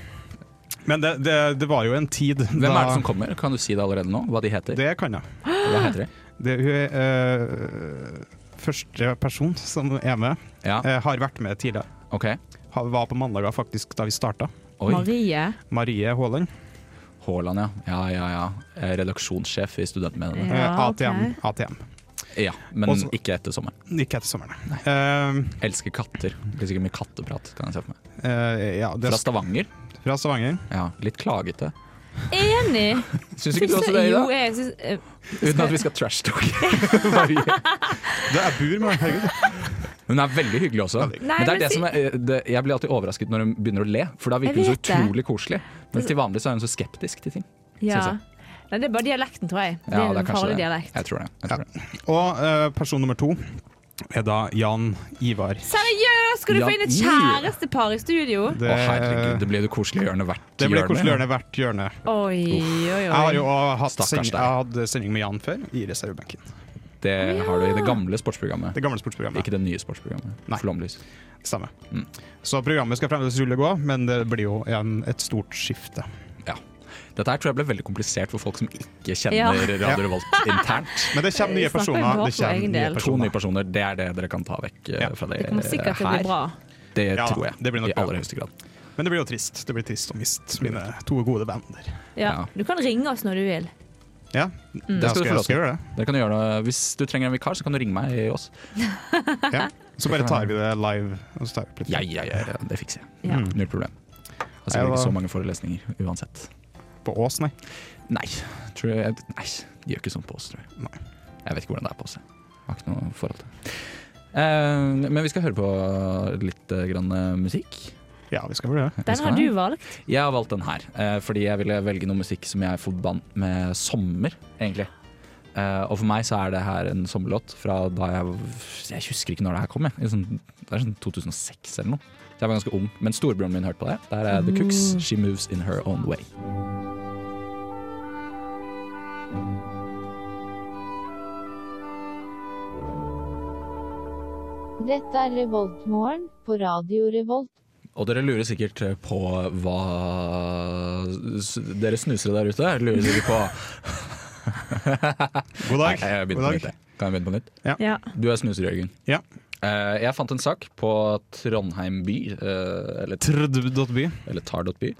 Speaker 4: Men det, det, det var jo en tid
Speaker 2: Hvem er det som kommer? Kan du si det allerede nå? Hva de heter?
Speaker 4: Det kan jeg.
Speaker 2: Hva heter de?
Speaker 4: Det, hun er eh, første person som er med.
Speaker 2: Ja,
Speaker 4: Eh, har vært med tidligere.
Speaker 2: ok.
Speaker 4: Har- Var på mandager faktisk da vi starta.
Speaker 2: Oi.
Speaker 3: Marie
Speaker 4: Marie Haaland.
Speaker 2: Haaland, ja. Ja, ja, ja. Eh, Redaksjonssjef i Studentmediene.
Speaker 4: eh,
Speaker 3: Ja, ok.
Speaker 4: ATM. ATM.
Speaker 3: Eh.
Speaker 2: Ja, men
Speaker 4: Også-
Speaker 2: ikke etter sommeren.
Speaker 4: Ikke etter sommeren. Eh,
Speaker 2: Elsker katter. Det blir sikkert mye katteprat. kan jeg se for meg.
Speaker 4: eh, ja, det,
Speaker 2: Fra Stavanger.
Speaker 4: fra Stavanger.
Speaker 2: Ja, Litt klagete.
Speaker 3: Enig!
Speaker 2: Syns ikke
Speaker 3: Syns
Speaker 2: du også det,
Speaker 3: jo,
Speaker 2: Ida?
Speaker 3: jeg syns eh,
Speaker 2: Uten at vi skal trashtalke. Marie.
Speaker 4: Det er bur med herregud.
Speaker 2: Hun er veldig hyggelig også.
Speaker 3: Nei,
Speaker 2: men det
Speaker 3: men
Speaker 2: er det
Speaker 3: si-
Speaker 2: som er, det, jeg blir alltid overrasket når hun begynner å le, for da virker hun så
Speaker 3: Jeg vet det.
Speaker 2: utrolig koselig. Mens til vanlig så er hun så skeptisk til ting.
Speaker 3: Ja.
Speaker 2: Synes jeg.
Speaker 3: Nei, det er bare dialekten, tror jeg. Det
Speaker 2: Ja,
Speaker 3: er en
Speaker 2: kanskje
Speaker 3: farlig
Speaker 2: det.
Speaker 3: dialekt.
Speaker 2: Jeg tror det. Jeg tror det.
Speaker 4: Og eh, person nummer to er da Jan Ivar.
Speaker 3: Seriøst, skal du
Speaker 2: Ja,
Speaker 3: få inn et
Speaker 2: i-
Speaker 3: kjærestepar i studio?
Speaker 4: Det,
Speaker 2: Å herregud, det blir det koselige hjørnet hvert
Speaker 4: det blir
Speaker 2: hjørne.
Speaker 4: koselig hjørne hvert hjørne.
Speaker 3: Oi, oi,
Speaker 4: Jeg har
Speaker 3: oi.
Speaker 4: jo også hatt
Speaker 2: Stakkars
Speaker 4: sending,
Speaker 2: deg.
Speaker 4: jeg hadde sending med Jan før, i reservebenken.
Speaker 2: Det har du i det gamle sportsprogrammet.
Speaker 4: Det gamle sportsprogrammet.
Speaker 2: Ikke det nye sportsprogrammet.
Speaker 4: Nei.
Speaker 2: Flomlys.
Speaker 4: Samme.
Speaker 2: Mm.
Speaker 4: Så programmet skal fremdeles rulle og gå, men det blir jo en, et stort skifte.
Speaker 2: Ja. Dette her tror jeg ble veldig komplisert for folk som ikke
Speaker 3: Ja.
Speaker 2: kjenner
Speaker 4: Ja.
Speaker 2: Radio Revolt internt.
Speaker 4: Men det kommer nye
Speaker 3: Vi snakker
Speaker 4: personer.
Speaker 3: bra
Speaker 4: Det
Speaker 3: for egen
Speaker 4: kommer nye
Speaker 2: To
Speaker 3: del.
Speaker 2: nye
Speaker 4: personer.
Speaker 2: personer, det er det dere kan ta vekk eh,
Speaker 4: Ja.
Speaker 2: fra det,
Speaker 3: Det kommer sikkert til å
Speaker 2: her.
Speaker 3: bli bra.
Speaker 2: Det
Speaker 4: Ja,
Speaker 2: tror jeg.
Speaker 4: det blir nok
Speaker 2: I
Speaker 4: bra.
Speaker 2: aller høyeste grad.
Speaker 4: Men det blir jo trist. Det blir trist å miste mine
Speaker 2: Mm.
Speaker 4: to gode venner.
Speaker 3: Ja.
Speaker 2: Ja.
Speaker 3: Du kan ringe oss når du vil.
Speaker 4: Ja,
Speaker 3: Mm.
Speaker 4: det
Speaker 2: skal
Speaker 4: skal,
Speaker 2: du få
Speaker 4: jeg
Speaker 2: lov til.
Speaker 4: skal gjøre. det
Speaker 2: Dere kan gjøre noe. Hvis du trenger en vikar, så kan du ringe meg i oss.
Speaker 4: ja. Så bare tar vi det live. Og så tar vi
Speaker 2: Ja,
Speaker 4: litt
Speaker 2: ja, ja, ja, det fikser jeg.
Speaker 3: Ja.
Speaker 4: Mm,
Speaker 2: Null problem. Det er
Speaker 4: Jeg
Speaker 2: sikkert ikke
Speaker 4: var-
Speaker 2: så mange forelesninger uansett.
Speaker 4: på Ås, nei.
Speaker 2: Nei, tror jeg, nei, de gjør ikke sånn på oss, tror jeg.
Speaker 4: Nei.
Speaker 2: Jeg vet ikke hvordan det er på oss. jeg. Jeg har ikke noe forhold til det. Eh, men vi skal høre på litt eh, grann eh, musikk.
Speaker 4: Ja, vi skal gjøre det.
Speaker 2: Vi
Speaker 3: Den
Speaker 2: skal
Speaker 3: har
Speaker 2: det.
Speaker 3: du valgt.
Speaker 2: Jeg har valgt den her, eh, fordi jeg ville velge noe musikk som jeg forbandt med sommer, egentlig. Eh, og for meg så er det her en sommerlåt fra da jeg Jeg husker ikke når det her kom, jeg. I Sånn, det er sånn 2006 eller noe. Så jeg var ganske ung. Men storebroren min hørte på det. Der er The Cooks. She moves in her own way.
Speaker 7: Dette er Revoltmorgen på Radio Revolt.
Speaker 2: Og dere lurer sikkert på hva s- Dere snusere der ute lurer sikkert på
Speaker 4: God
Speaker 2: Nei,
Speaker 4: dag.
Speaker 2: jeg begynner
Speaker 4: God
Speaker 2: på
Speaker 4: dag.
Speaker 2: nytt. jeg. Kan jeg begynne på nytt?
Speaker 3: Ja.
Speaker 2: Du er snuser, Jørgen.
Speaker 4: Ja.
Speaker 2: Eh, jeg fant en sak på Trondheim by, eh, eller
Speaker 4: Trd.by.
Speaker 2: eller tar.by,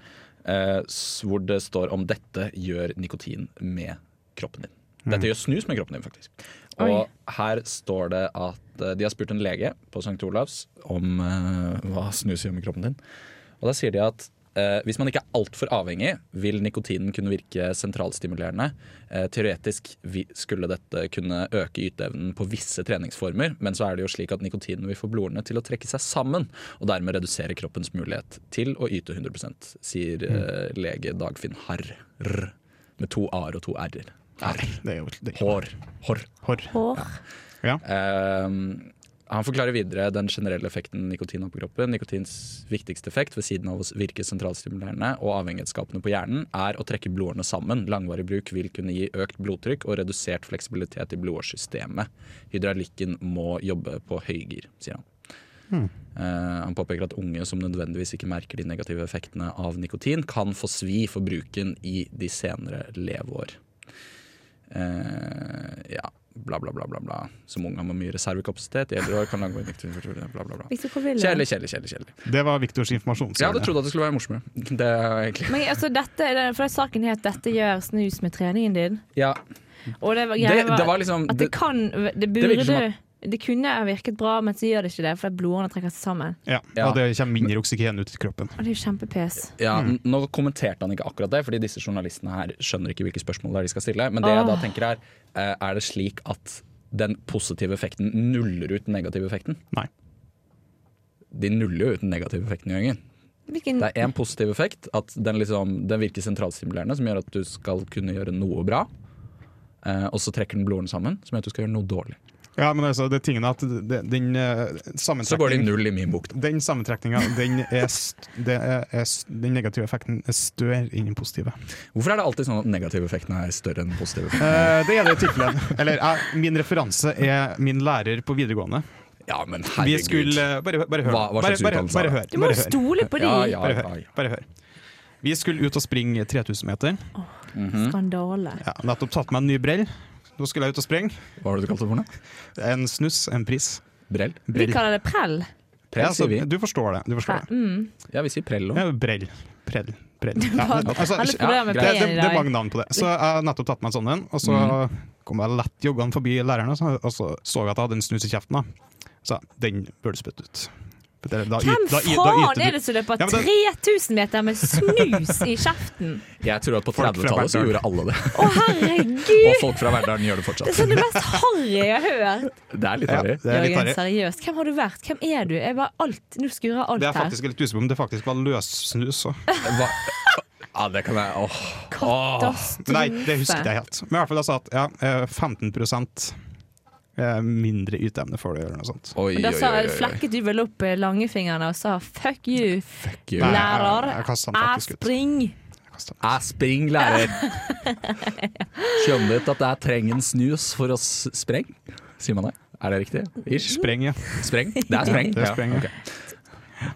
Speaker 2: eh, s- hvor det står om dette gjør nikotin med kroppen din. Dette gjør snus med kroppen din, faktisk. Og
Speaker 3: Oi.
Speaker 2: her står det at eh, de har spurt en lege på St. Olavs om eh, hva snus gjør med kroppen din. Og da sier de at eh, hvis man ikke er altfor avhengig, vil nikotinen kunne virke sentralstimulerende. Eh, teoretisk vi, skulle dette kunne øke yteevnen på visse treningsformer, men så er det jo slik at nikotinen vil få blodårene til å trekke seg sammen, og dermed redusere kroppens mulighet til å yte 100 sier eh, lege Dagfinn Harr. Rr. Med to a-er og to r-er. Harr.
Speaker 4: Det er jo det er ikke
Speaker 2: Hår. Hår.
Speaker 4: Hår.
Speaker 3: Hår.
Speaker 4: Ja.
Speaker 2: Ehm, han forklarer videre den generelle effekten nikotin har på kroppen. Nikotins viktigste effekt ved siden av å virke sentralstimulerende og avhengighetsskapende på hjernen, er å trekke blodårene sammen. Langvarig bruk vil kunne gi økt blodtrykk og redusert fleksibilitet i blodårssystemet. Hydraulikken må jobbe på høygir, sier han. Eh, han påpeker at unge som nødvendigvis ikke merker de negative effektene av nikotin, kan få svi for bruken i de senere leveår. Eh, ja, bla, bla, bla, bla, bla. Som ung har man mye reservekapasitet. I eldre år kan langvarig nikotin bla, bla, bla.
Speaker 3: Victor, hvor vil du?
Speaker 2: Kjedelig, kjedelig, kjedelig. kjedelig.
Speaker 4: Det var Viktors
Speaker 2: Jeg hadde
Speaker 4: informasjonsside.
Speaker 2: trodd at det skulle være morsommere. Det er egentlig
Speaker 3: Men altså, dette, for den saken het 'Dette gjør snus med treningen din'.
Speaker 2: Ja,
Speaker 3: Og det var,
Speaker 2: det,
Speaker 3: greia
Speaker 2: det var liksom
Speaker 3: at det,
Speaker 2: det,
Speaker 3: kan Det
Speaker 2: virker som
Speaker 3: burde Det kunne virket bra, men så gjør det ikke det, for blodårene trekker seg sammen.
Speaker 4: Ja,
Speaker 2: Ja.
Speaker 4: Og det kommer mindre oksygen ut i kroppen.
Speaker 3: Og det er jo kjempepes.
Speaker 2: Ja,
Speaker 4: Mm.
Speaker 2: n- Nå kommenterte han ikke akkurat det, Fordi disse journalistene her skjønner ikke hvilke spørsmål det er de skal stille. Men det jeg da
Speaker 3: Åh.
Speaker 2: tenker er, eh, er det slik at den positive effekten nuller ut den negative effekten?
Speaker 4: Nei.
Speaker 2: De nuller jo ut den negative effekten i gangen.
Speaker 3: Hvilken
Speaker 2: Det er én positiv effekt, at den, liksom, den virker sentralstimulerende, som gjør at du skal kunne gjøre noe bra. Eh, og så trekker den blodårene sammen, som gjør at du skal gjøre noe dårlig.
Speaker 4: Ja, men altså, det tingen er at det- den eh,
Speaker 2: Så går det i
Speaker 4: sammentrekningen
Speaker 2: null i min bok. Da.
Speaker 4: den sammentrekninga, den, er st- det er- er st- den negative effekten er større enn den positive.
Speaker 2: Hvorfor er det alltid sånn at negative effekten er større enn positive? effekten?
Speaker 4: Eh, det er det tilfellet. Eller eh, min referanse er min lærer på videregående.
Speaker 2: Ja, men
Speaker 4: Vi
Speaker 2: herregud.
Speaker 4: skulle eh, Bare, bare hør.
Speaker 2: Hva- hva
Speaker 4: bare,
Speaker 2: slags
Speaker 4: bare,
Speaker 2: utdannelse er
Speaker 4: bare
Speaker 2: det?
Speaker 4: hør.
Speaker 3: Du må
Speaker 4: bare
Speaker 3: jo
Speaker 4: hør.
Speaker 3: stole på de!
Speaker 2: Ja, ja,
Speaker 4: Bare
Speaker 2: ja,
Speaker 4: hør.
Speaker 2: ja.
Speaker 4: Bare hør. Vi skulle ut og springe 3000 meter. Mhm.
Speaker 3: Skandale.
Speaker 4: Ja, nettopp tatt meg en ny brell. Nå skulle jeg ut og springe.
Speaker 2: Hva var det du kalte det for noe?
Speaker 4: En snus, en pris.
Speaker 2: Brell?
Speaker 3: Vi kaller det prell.
Speaker 2: Prell,
Speaker 4: Ja, altså,
Speaker 2: sier vi.
Speaker 4: du forstår det. Du forstår det.
Speaker 3: Mm.
Speaker 2: Ja, vi sier prell òg.
Speaker 4: Ja, brell. Prell. Prell. Ja,
Speaker 3: Bare-
Speaker 4: altså,
Speaker 3: Alle
Speaker 4: det,
Speaker 3: problemer med
Speaker 4: det,
Speaker 3: P-en i
Speaker 4: det er
Speaker 3: dag.
Speaker 4: mange navn på det. Så jeg har nettopp tatt meg en sånn en, og så
Speaker 2: Mm.
Speaker 4: kom jeg lett joggende forbi læreren, og så, og så så jeg at jeg hadde en snus i kjeften. Da. Så den burde du spytte ut. For det- da y-
Speaker 3: Hvem
Speaker 4: da y- da yter
Speaker 3: faen
Speaker 4: du-
Speaker 3: er det som løper
Speaker 4: Ja, men det-
Speaker 3: 3000 meter med snus i kjeften?
Speaker 2: Jeg tror at på
Speaker 4: Folk fra
Speaker 2: 30-tallet så
Speaker 4: Verdalen.
Speaker 2: gjorde alle det.
Speaker 3: Å, herregud!
Speaker 2: Og folk fra Verdalen gjør det
Speaker 3: Det er
Speaker 2: fortsatt.
Speaker 3: sånn det mest harry jeg har hørt.
Speaker 2: Det er litt
Speaker 4: Ja,
Speaker 2: harry.
Speaker 4: det er litt
Speaker 3: Jørgen,
Speaker 4: harry.
Speaker 3: seriøst. Hvem har du vært? Hvem er du? Jeg bare alt. Nå skurrer alt
Speaker 4: Det er
Speaker 3: her.
Speaker 4: faktisk litt usikker på om det faktisk var løssnus. så.
Speaker 2: Hva? Ja, det kan jeg Åh.
Speaker 3: Katastrofe.
Speaker 4: Men Nei, det husket jeg helt. Men i hvert fall jeg sa at ja, eh, 15 eh, mindre yteevne får du gjøre noe sånt.
Speaker 2: Oi,
Speaker 3: Og
Speaker 2: oi,
Speaker 3: Da sa,
Speaker 2: oi, oi, oi.
Speaker 3: flekket du vel opp eh, langefingrene og sa 'fuck you,
Speaker 2: you.
Speaker 3: lærer'.
Speaker 4: Nei, jeg- jeg kastet den
Speaker 3: Jeg
Speaker 4: faktisk ut.
Speaker 3: spring.
Speaker 4: Jeg kastet
Speaker 2: Jeg
Speaker 4: den.
Speaker 2: springer, lærer. Skjønner du at jeg trenger en snus for å s- spreng? Sier man det? Er det riktig? Ish?
Speaker 4: Spreng, ja.
Speaker 2: Spreng? Det er spreng.
Speaker 4: Det er spreng, ja.
Speaker 2: ok.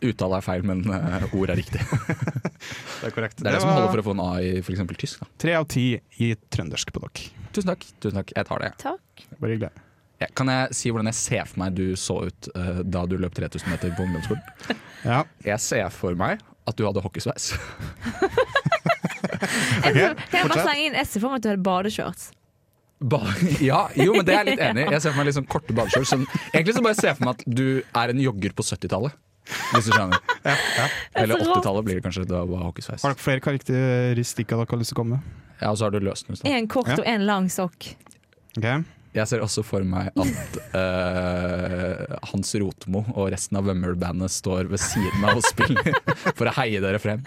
Speaker 2: Uttale er feil, men eh, ord er riktig. Det
Speaker 4: Det er korrekt.
Speaker 2: er det som holder for å få en A i f.eks. tysk. Da.
Speaker 4: Tre av ti i trøndersk på dere.
Speaker 2: Tusen takk. Tusen takk. Jeg tar det.
Speaker 3: Takk.
Speaker 4: Bare hyggelig.
Speaker 2: Ja, Kan jeg si hvordan jeg ser for meg du så ut eh, da du løp 3000 meter på ungdomsskolen?
Speaker 4: Ja.
Speaker 2: Jeg ser for meg at du hadde hockeysveis.
Speaker 3: Jeg, kan
Speaker 4: Ok,
Speaker 3: jeg bare
Speaker 4: fortsett.
Speaker 3: slenge inn Jeg ser for meg at du hadde badeshorts.
Speaker 2: Ba ja, jo, men det er jeg litt enig i. Jeg ser for meg litt sånn korte badeshorts. Sånn, egentlig så bare ser jeg for meg at du er en jogger på 70-tallet. Hvis du skjønner. Eller
Speaker 3: Det er så rått.
Speaker 2: 80-tallet blir det kanskje. Da var hockeysveis.
Speaker 4: Har dere flere karakteristikker dere har lyst til å komme med?
Speaker 2: Ja, og så har du løssnus. da.
Speaker 3: En kort
Speaker 4: Ja.
Speaker 3: og en lang sokk.
Speaker 4: Ok.
Speaker 2: Jeg ser også for meg at eh, Hans Rotmo og resten av Wømmøl-bandet står ved siden av og spiller for å heie dere frem.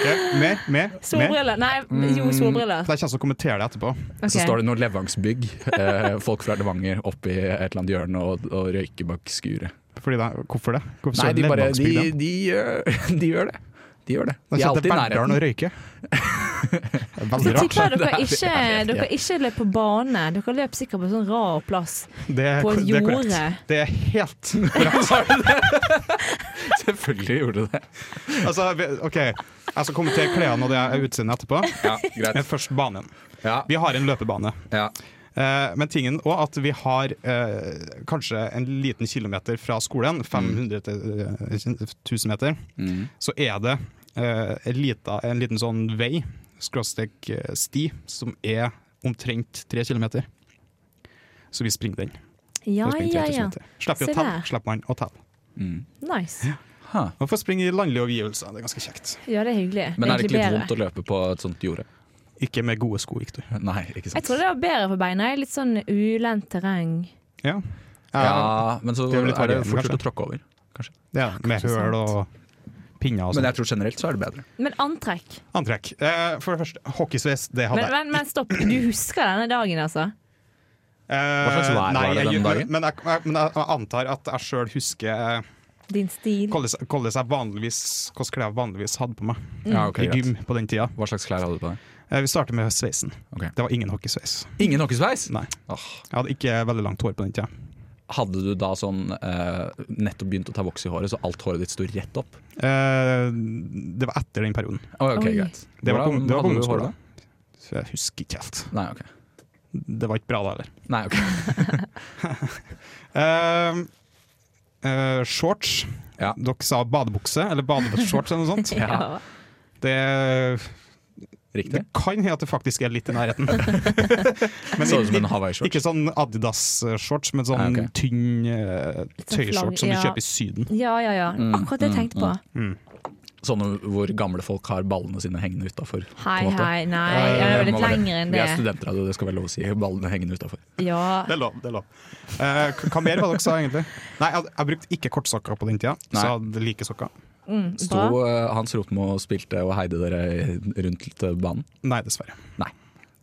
Speaker 4: Ja, mer, mer, mer.
Speaker 3: Solbriller. Nei, jo, solbriller.
Speaker 4: Det er ikke å kommentere det etterpå.
Speaker 3: Ok.
Speaker 2: Mm, Så står det noen levangsbygg, eh, folk fra Levanger oppi et eller annet hjørne og, og røyker bak skuret.
Speaker 4: Fordi det, hvorfor det? Hvorfor
Speaker 2: Nei,
Speaker 4: står
Speaker 2: de, bare, de,
Speaker 4: Levangsbygda?
Speaker 2: de, gjør, de gjør det. De gjør det. De
Speaker 4: Da
Speaker 2: er
Speaker 4: sitter
Speaker 2: alltid i
Speaker 4: Verdalen og
Speaker 2: nærheten.
Speaker 3: Så
Speaker 4: røyker. Det er Veldig rart.
Speaker 3: tipper jeg dere
Speaker 2: Det er-
Speaker 3: ikke,
Speaker 2: jeg vet ikke.
Speaker 3: dere ikke løp på bane. Dere løp sikkert på sånn rar plass.
Speaker 4: Det er,
Speaker 3: På
Speaker 4: det er korrekt.
Speaker 3: jordet.
Speaker 4: Det er helt
Speaker 2: Sa du det? Selvfølgelig gjorde du det.
Speaker 4: Altså, vi- OK. Jeg skal kommentere klærne og det er utseendet etterpå.
Speaker 2: Ja,
Speaker 4: Men
Speaker 2: greit.
Speaker 4: først banen.
Speaker 2: Ja,
Speaker 4: Vi har en løpebane.
Speaker 2: ja.
Speaker 4: Eh, Men tingen òg at vi har eh, kanskje en liten kilometer fra skolen, 500 til eh, 1000 meter,
Speaker 2: Mm.
Speaker 4: så er det eh, en, lita, en liten sånn vei, skråstrek eh, sti, som er omtrent 3 kilometer. Så vi springer den.
Speaker 3: Ja,
Speaker 4: for å springe
Speaker 3: ja,
Speaker 4: 3000
Speaker 3: ja.
Speaker 4: meter. Slipper vi
Speaker 3: Se
Speaker 4: å telle,
Speaker 3: der.
Speaker 4: slipper man å telle.
Speaker 3: Nice.
Speaker 4: Man får springe i landlige omgivelser, det er ganske kjekt.
Speaker 3: Ja, det er hyggelig.
Speaker 2: Men er det ikke litt
Speaker 3: egentlig
Speaker 2: vondt å løpe sånn? på et sånt jorde?
Speaker 4: Ikke med gode sko, Victor.
Speaker 2: Nei, ikke
Speaker 3: Jeg
Speaker 2: sant.
Speaker 3: trodde det var bedre for beina. Litt sånn ulendt terreng.
Speaker 4: Ja.
Speaker 2: Ja, men så
Speaker 4: Det
Speaker 2: er
Speaker 4: er vel
Speaker 2: det
Speaker 4: litt varierende,
Speaker 2: fort gjort
Speaker 4: kanskje.
Speaker 2: å tråkke over. Kanskje.
Speaker 4: det er det, med
Speaker 3: kanskje
Speaker 4: høl og pinner og
Speaker 2: Men
Speaker 4: sånn.
Speaker 2: jeg tror generelt så er det bedre.
Speaker 3: Men antrekk.
Speaker 4: Antrekk. Eh, For det første, hockeysveis, det hadde
Speaker 3: Men,
Speaker 4: jeg.
Speaker 3: men, men stopp, du husker denne dagen, altså?
Speaker 4: Hva
Speaker 2: slags vær var det den dagen?
Speaker 4: Men, men, Eh, jeg, men jeg antar at jeg sjøl husker eh,
Speaker 3: Din stil.
Speaker 4: hvordan hvordan jeg vanligvis Hvilke klær jeg vanligvis hadde på meg
Speaker 2: Mm. Ja, ok,
Speaker 4: i
Speaker 2: greit.
Speaker 4: gym på den tida.
Speaker 2: Hva slags klær hadde du på deg?
Speaker 4: Eh, Vi starter med sveisen.
Speaker 2: Ok.
Speaker 4: Det var ingen hockeysveis.
Speaker 2: Ingen hockeysveis?
Speaker 4: Nei.
Speaker 2: Åh.
Speaker 4: Jeg hadde ikke veldig langt hår på den tida.
Speaker 2: Hadde du da sånn eh, nettopp begynt å ta voks i håret, så alt håret ditt sto rett opp?
Speaker 4: Eh, Det var etter den perioden.
Speaker 2: Å, ok,
Speaker 3: Oi.
Speaker 2: greit.
Speaker 4: Det var på-
Speaker 2: Hvordan
Speaker 4: det var på
Speaker 2: hadde du håret
Speaker 4: ungdomsskolen.
Speaker 2: da?
Speaker 4: Så jeg husker ikke helt.
Speaker 2: Nei, ok.
Speaker 4: Det var ikke bra, da heller.
Speaker 2: Nei, ok.
Speaker 4: Eh, eh, shorts.
Speaker 2: Ja.
Speaker 4: Dere sa badebukse, eller badeshorts eller noe sånt.
Speaker 3: Ja.
Speaker 4: Det
Speaker 2: Riktig?
Speaker 4: Kan hende at det faktisk er litt i nærheten. Men
Speaker 2: Så ut som
Speaker 4: ikke-
Speaker 2: en Hawaii-shorts.
Speaker 4: Ikke sånn Adidas-shorts, men sånn
Speaker 2: Ja, ok.
Speaker 4: tynn eh,
Speaker 3: sånn flang-
Speaker 4: tøyshorts som du
Speaker 3: ja.
Speaker 4: kjøper i Syden.
Speaker 3: Ja, ja, ja. Akkurat det jeg tenkte på.
Speaker 2: Sånne hvor gamle folk har ballene sine hengende utafor.
Speaker 3: Hei, hei, nei. Jeg er jo litt lenger enn
Speaker 2: Vi er
Speaker 3: det.
Speaker 2: studenter, altså, det skal være lov å si. Ballene hengende utafor.
Speaker 3: Ja.
Speaker 4: Det er lov. det er lov. Eh, k- hva mer var det dere sa, egentlig? Nei, Jeg, jeg brukte ikke kortsokker på den tida, så
Speaker 2: Nei.
Speaker 4: jeg hadde like sokker.
Speaker 3: Mm,
Speaker 2: Sto
Speaker 3: bra.
Speaker 2: eh, Hans Rotmo og spilte og heide dere rundt til banen?
Speaker 4: Nei, dessverre.
Speaker 2: Nei.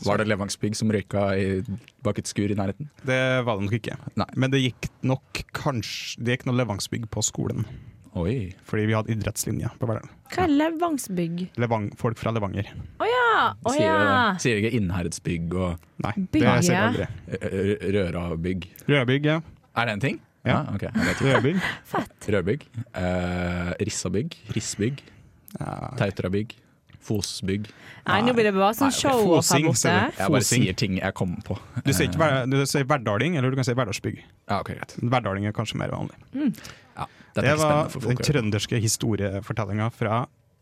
Speaker 2: Var det Levangsbygg som røyka i, bak et skur i nærheten?
Speaker 4: Det var det nok ikke.
Speaker 2: Nei.
Speaker 4: Men det gikk nok kanskje Det gikk noe Levangsbygg på skolen,
Speaker 2: Oi.
Speaker 4: fordi vi hadde idrettslinje på Verdalen.
Speaker 3: Hva er Levangsbygg?
Speaker 4: Levang, folk fra Levanger.
Speaker 3: Å ja! Å
Speaker 2: Sier,
Speaker 3: ja.
Speaker 2: sier ikke Innherredsbygg og
Speaker 4: Nei,
Speaker 3: Bygge.
Speaker 4: det ser jeg aldri.
Speaker 2: Ø- Ø- Rørabygg.
Speaker 4: Rødbygg, ja.
Speaker 2: Er det en ting?
Speaker 4: Ja.
Speaker 2: Ah, ok, jeg vet ikke.
Speaker 4: Rødbygg.
Speaker 2: Rødbygg. eh, Rissabygg. Rissbygg. Tautrabygg. Fosbygg.
Speaker 3: Nei, nå blir det bare sånn
Speaker 2: Nei, ok.
Speaker 3: show-off her
Speaker 4: Fosing,
Speaker 3: borte.
Speaker 4: ser
Speaker 2: Jeg bare
Speaker 4: Fosing.
Speaker 2: sier ting jeg kommer på.
Speaker 4: Du sier ikke hver, du sier Verdalning, eller du kan si Verdalsbygg.
Speaker 2: Ja, ok, greit.
Speaker 4: Verdalning er kanskje mer vanlig.
Speaker 2: Ja, dette er
Speaker 4: Det
Speaker 2: ikke
Speaker 4: var
Speaker 2: spennende for
Speaker 4: den
Speaker 2: folk. å høre.
Speaker 4: trønderske historiefortellinga fra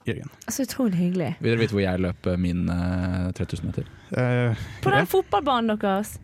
Speaker 4: Jørgen.
Speaker 3: Så utrolig hyggelig.
Speaker 2: Vil dere vite hvor jeg løp eh, min eh, 3000 meter?
Speaker 4: Eh,
Speaker 3: På den fotballbanen deres.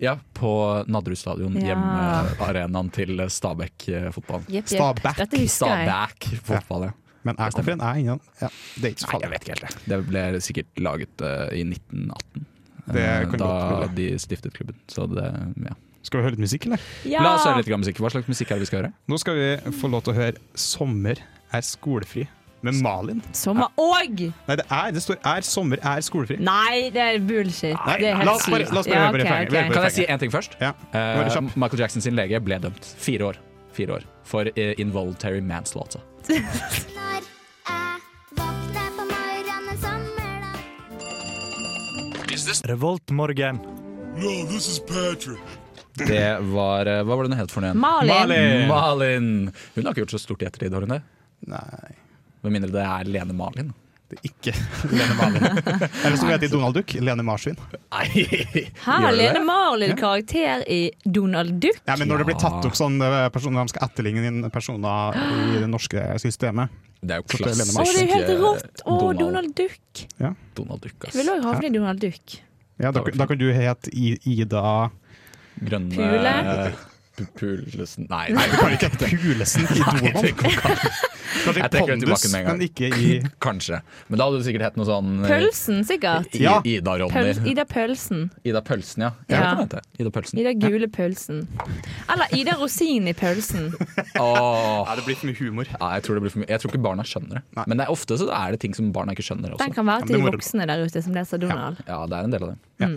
Speaker 2: Ja, på Nadderud stadion,
Speaker 3: Ja.
Speaker 2: hjemmearenaen til eh, Stabæk-fotballen.
Speaker 3: Jepp, jepp.
Speaker 4: Stabæk.
Speaker 3: Dette husker jeg.
Speaker 2: Stabæk-fotball, ja.
Speaker 4: men jeg kommer en jeg innan. Ja, det er ikke så
Speaker 2: Nei, jeg
Speaker 4: farlig.
Speaker 2: vet ikke helt det. Det ble sikkert laget eh, i 1918.
Speaker 4: Det
Speaker 2: eh,
Speaker 4: kan
Speaker 2: da
Speaker 4: godt være.
Speaker 2: de stiftet klubben. Så det, ja.
Speaker 4: Skal vi høre litt musikk, eller?
Speaker 3: Ja.
Speaker 2: La oss høre litt grann musikk. Hva slags musikk er det vi skal høre?
Speaker 4: Nå skal vi få lov til å høre 'Sommer er skolefri' med Malin.
Speaker 3: Sommer og
Speaker 4: Nei, det er, det står 'Er sommer er skolefri'.
Speaker 3: Nei, det er bullshit.
Speaker 4: Nei,
Speaker 3: det er helt
Speaker 4: la oss bare-
Speaker 3: sykt.
Speaker 4: la oss bare
Speaker 3: Ja,
Speaker 4: høre på
Speaker 3: ok,
Speaker 4: refrenget.
Speaker 3: ok.
Speaker 4: Vi hører på
Speaker 2: Kan jeg
Speaker 4: refrenget.
Speaker 2: si én ting først?
Speaker 4: Ja,
Speaker 2: Eh,
Speaker 4: Bare kjapp.
Speaker 2: Michael Jackson sin lege ble dømt. Fire år. Fire år. For eh, involuntary manslaughter.
Speaker 8: Når jeg våkner på morgenen en sommerdag
Speaker 1: Revoltmorgen.
Speaker 2: Det var eh, Hva var det hun het for noe igjen?
Speaker 3: Malin.
Speaker 2: Malin! Hun har ikke gjort så stort i ettertid, har hun det?
Speaker 4: Nei,
Speaker 2: Med mindre det er Lene Malin.
Speaker 4: det er ikke Lene Malin. Eller som hun heter i Donald Duck, Lene Marsvin.
Speaker 2: Nei!
Speaker 3: Her
Speaker 2: gjør
Speaker 3: er
Speaker 2: det
Speaker 3: Lene
Speaker 2: det?
Speaker 3: Marlin karakter i Donald Duck.
Speaker 4: Ja, men når det blir tatt
Speaker 2: Ja.
Speaker 4: opp sånn eh, personer de skal etterligne inn personer i det norske systemet
Speaker 2: Det er jo
Speaker 4: er Lene
Speaker 2: klassisk.
Speaker 3: Å, det er jo helt
Speaker 2: eh,
Speaker 3: rått! Å,
Speaker 2: Donald,
Speaker 3: Donald Duck.
Speaker 2: Donald Duck, ass.
Speaker 3: Jeg vil òg havne i Donald Duck.
Speaker 4: ja, da,
Speaker 2: Det var
Speaker 4: da kan du hete I- Ida
Speaker 2: Grønne
Speaker 3: Pule.
Speaker 2: eh, pu- Pulesen Nei,
Speaker 4: Nei,
Speaker 2: nei.
Speaker 4: du kan ikke hete Pulesen i Donald.
Speaker 2: det går ikke. Jeg
Speaker 4: Kanskje i
Speaker 2: trekker det
Speaker 4: Pondus,
Speaker 2: tilbake med en gang.
Speaker 4: men ikke i
Speaker 2: Kanskje. Men da hadde du sikkert hett noe sånn eh,
Speaker 3: Pølsen, sikkert.
Speaker 2: I,
Speaker 4: Ja.
Speaker 2: Ida Ronny.
Speaker 3: Pøl Ida Pølsen.
Speaker 2: Ida Pølsen, ja.
Speaker 3: Ja.
Speaker 2: Jeg vet hva det heter. Ida Pølsen.
Speaker 3: Ida Gule Pølsen. Eller Ida Rosin i pølsen.
Speaker 2: Åh.
Speaker 4: Ja, det blir for mye humor.
Speaker 2: Ja, jeg, tror det blir for mye. jeg tror ikke barna skjønner det.
Speaker 4: Nei.
Speaker 2: Men det er ofte så er det ting som barna ikke skjønner
Speaker 3: Den
Speaker 2: også.
Speaker 3: kan være
Speaker 4: Ja, men det
Speaker 3: til de
Speaker 4: må du-
Speaker 3: voksne der ute som leser Donald.
Speaker 2: Ja, det er en del av det.
Speaker 4: Ja.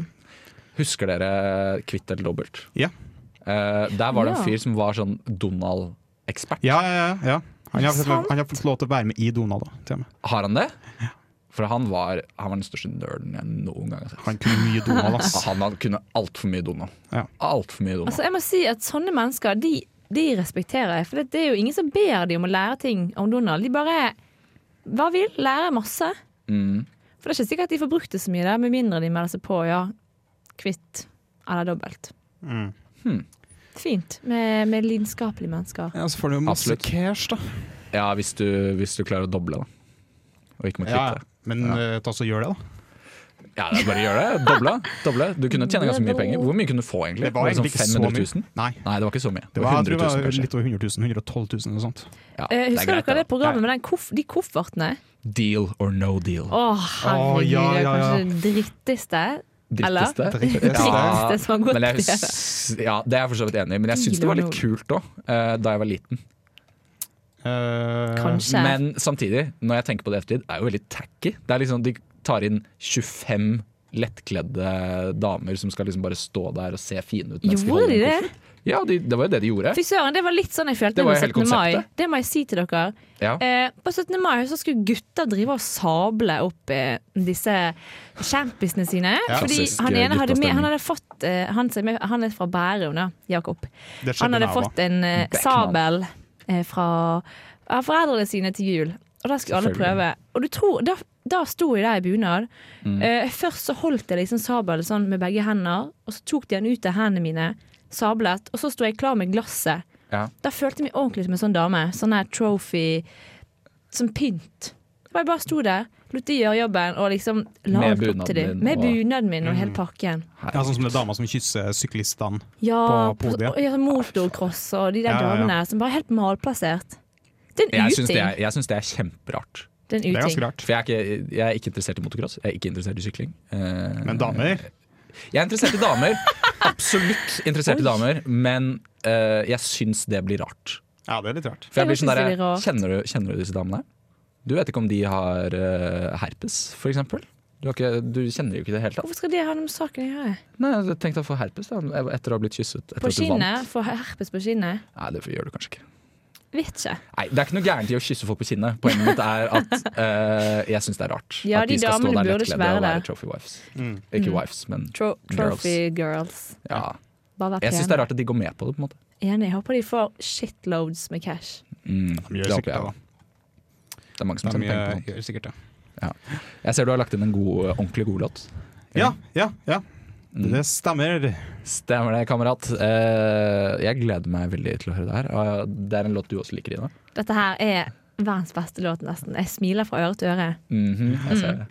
Speaker 2: Husker dere Kvitt eller dobbelt?
Speaker 4: Ja,
Speaker 2: Eh, der var det en
Speaker 3: Ja.
Speaker 2: fyr som var sånn Donald-ekspert.
Speaker 4: ja, ja. ja, ja. Han, har,
Speaker 3: Sant.
Speaker 4: han har fått lov til å være med i Donald. Da, til og med.
Speaker 2: Har han det? For han var, han var den største nerden jeg noen gang har sett.
Speaker 4: Han kunne mye Donald, ass.
Speaker 2: Han, han kunne altfor mye Donald.
Speaker 4: Ja.
Speaker 2: Alt for mye Donald.
Speaker 3: Altså, jeg må si at sånne mennesker, de, de respekterer jeg. For det, det er jo ingen som ber de om å lære ting om Donald. De bare hva vil, lære masse.
Speaker 2: Mm.
Speaker 3: For det er ikke sikkert at de får brukt det så mye, der, med mindre de melder seg på, ja, kvitt eller dobbelt.
Speaker 2: Hmm.
Speaker 3: Fint med, med lidenskapelige mennesker.
Speaker 4: Ja, så får du jo masse
Speaker 2: Absolutt.
Speaker 4: cash, da.
Speaker 3: Altså-
Speaker 2: ja, hvis du, hvis du klarer å doble, da. Og ikke må
Speaker 4: Ja,
Speaker 2: kvitte.
Speaker 4: men eh, ta så gjør det, da.
Speaker 2: Ja, det er bare å gjøre det. Doble. doble. Du kunne tjene ganske mye penger. Hvor mye kunne du få, egentlig?
Speaker 4: Det
Speaker 2: sånn
Speaker 4: var egentlig ikke så
Speaker 2: 500 000?
Speaker 4: mye. Nei.
Speaker 2: Nei, det var ikke så mye.
Speaker 4: Det var, jeg tror
Speaker 2: 100
Speaker 4: det
Speaker 2: 000,
Speaker 4: var
Speaker 2: kanskje.
Speaker 4: litt over 100 000. 112 000 eller noe sånt.
Speaker 2: Ja,
Speaker 3: Eh,
Speaker 2: det er greit,
Speaker 3: husker dere det
Speaker 2: det.
Speaker 3: programmet med den koff, de koffertene?
Speaker 2: Deal or no deal.
Speaker 3: Å, herregud,
Speaker 4: ja,
Speaker 3: det er
Speaker 4: ja, ja.
Speaker 3: kanskje det dritteste.
Speaker 2: Dritteste.
Speaker 3: Eller?
Speaker 4: Dritteste.
Speaker 3: Dritteste som har gått
Speaker 2: Men jeg,
Speaker 3: i det.
Speaker 2: hus- ja, det er jeg for så vidt enig i, men jeg syns det var litt kult òg, da jeg var liten.
Speaker 4: Eh,
Speaker 3: Kanskje.
Speaker 2: Men samtidig, når jeg tenker på det i ettertid, er det jo veldig tacky. Det er liksom, De tar inn 25 lettkledde damer som skal liksom bare stå der og se fine ut. mens
Speaker 3: Gjorde
Speaker 2: holder
Speaker 3: de
Speaker 2: en
Speaker 3: det?
Speaker 2: koffert. Ja, de, det var jo det de gjorde.
Speaker 3: Fy søren, det var litt sånn jeg følte
Speaker 2: Det var
Speaker 3: under
Speaker 2: jo hele
Speaker 3: 17. mai.
Speaker 2: konseptet.
Speaker 3: Det må jeg si til dere.
Speaker 2: Ja.
Speaker 3: Eh, på 17. mai så skulle gutter drive og sable opp eh, disse kjempisene sine.
Speaker 4: Ja.
Speaker 3: fordi
Speaker 2: Klassisk,
Speaker 3: han
Speaker 2: eh,
Speaker 3: ene hadde med,
Speaker 2: guttastemning.
Speaker 3: han hadde fått eh, han, som er med, han er fra Bærum, da. Jakob.
Speaker 4: det skjedde
Speaker 3: Han hadde
Speaker 4: med meg
Speaker 3: fått en eh,
Speaker 2: Beckman.
Speaker 3: sabel eh, fra av foreldrene sine til jul. Og da skulle alle
Speaker 2: Selvfølgelig.
Speaker 3: prøve. Og du tror, da, da sto jeg der i bunad.
Speaker 2: Mm.
Speaker 3: Eh, først så holdt jeg liksom sabelen sånn med begge hender, og så tok de den ut av hendene mine, sablet, og så sto jeg klar med glasset.
Speaker 2: Ja.
Speaker 3: Da følte jeg meg ordentlig som en sånn dame. Sånn her trophy Som pynt. Og sånn jeg bare sto der. lot de gjøre jobben, og liksom la
Speaker 2: Med
Speaker 3: alt opp
Speaker 2: bunaden
Speaker 3: til dem.
Speaker 2: din
Speaker 3: Med
Speaker 2: og- Mm.
Speaker 3: bunaden min og hele pakken.
Speaker 4: Ja, sånn som det er dama som kysser syklistene.
Speaker 3: Ja,
Speaker 4: På podiet.
Speaker 3: og- og ja, motocross og de der
Speaker 4: Ja, ja, ja.
Speaker 3: damene som bare er helt malplassert. Det er en
Speaker 2: Jeg syns
Speaker 3: uting.
Speaker 2: det, er- jeg syns det er kjemperart.
Speaker 3: Det er en
Speaker 4: Det er ganske
Speaker 3: uting.
Speaker 4: rart.
Speaker 2: For jeg er, ikke, jeg er ikke interessert i motocross, jeg er ikke interessert i sykling. Eh,
Speaker 4: Men damer
Speaker 2: Jeg er interessert i damer. Absolutt interessert i damer, men eh, jeg syns det blir rart.
Speaker 4: Ja, det er litt rart.
Speaker 2: For jeg blir
Speaker 3: Jeg
Speaker 2: sånn
Speaker 3: synes det
Speaker 2: der,
Speaker 3: blir rart.
Speaker 2: kjenner, du, kjenner du disse damene? Du vet ikke om de har eh, herpes, for eksempel. Du, har ikke, du kjenner jo ikke det i det hele tatt.
Speaker 3: Hvorfor skal det ha noe med saken å gjøre?
Speaker 2: Nei, jeg tenkte å få herpes da, etter å ha blitt kysset. Etter
Speaker 3: På
Speaker 2: at du
Speaker 3: skinnet?
Speaker 2: vant.
Speaker 3: Få herpes på skinnet?
Speaker 2: Nei, det gjør du kanskje ikke.
Speaker 3: Vet ikke.
Speaker 2: Nei, Det er ikke noe gærent i å kysse folk på kinnet. Poenget mitt er at eh, jeg syns det er rart.
Speaker 3: Ja,
Speaker 2: at
Speaker 3: de damene burde Mm. ikke være
Speaker 2: og være
Speaker 3: der.
Speaker 2: trophy wives. Ikke wives, men
Speaker 3: Tro trophy girls.
Speaker 2: ja.
Speaker 3: Bare vær
Speaker 2: Jeg syns det
Speaker 3: pene.
Speaker 2: er rart at de går med på det, på en måte.
Speaker 3: Enig. Jeg håper de får shitloads med cash.
Speaker 2: Mm,
Speaker 4: De
Speaker 2: det
Speaker 4: gjør
Speaker 2: håper
Speaker 4: sikkert
Speaker 2: jeg. Sånn
Speaker 4: det.
Speaker 2: Det er mange som
Speaker 4: da. De eh,
Speaker 2: tjener penger på
Speaker 4: gjør-
Speaker 2: sånt.
Speaker 4: gjør sikkert det.
Speaker 2: Jeg ser du har lagt inn en god, eh, ordentlig god låt.
Speaker 4: Ja, ja, ja.
Speaker 2: Mm.
Speaker 4: Det stemmer.
Speaker 2: Stemmer det, kamerat. Eh, jeg gleder meg veldig til å høre det her. Eh, det er en låt du også liker, Ina.
Speaker 3: Dette her er verdens beste låt, nesten. Jeg smiler fra øre til øre.
Speaker 2: Mhm, jeg ser det.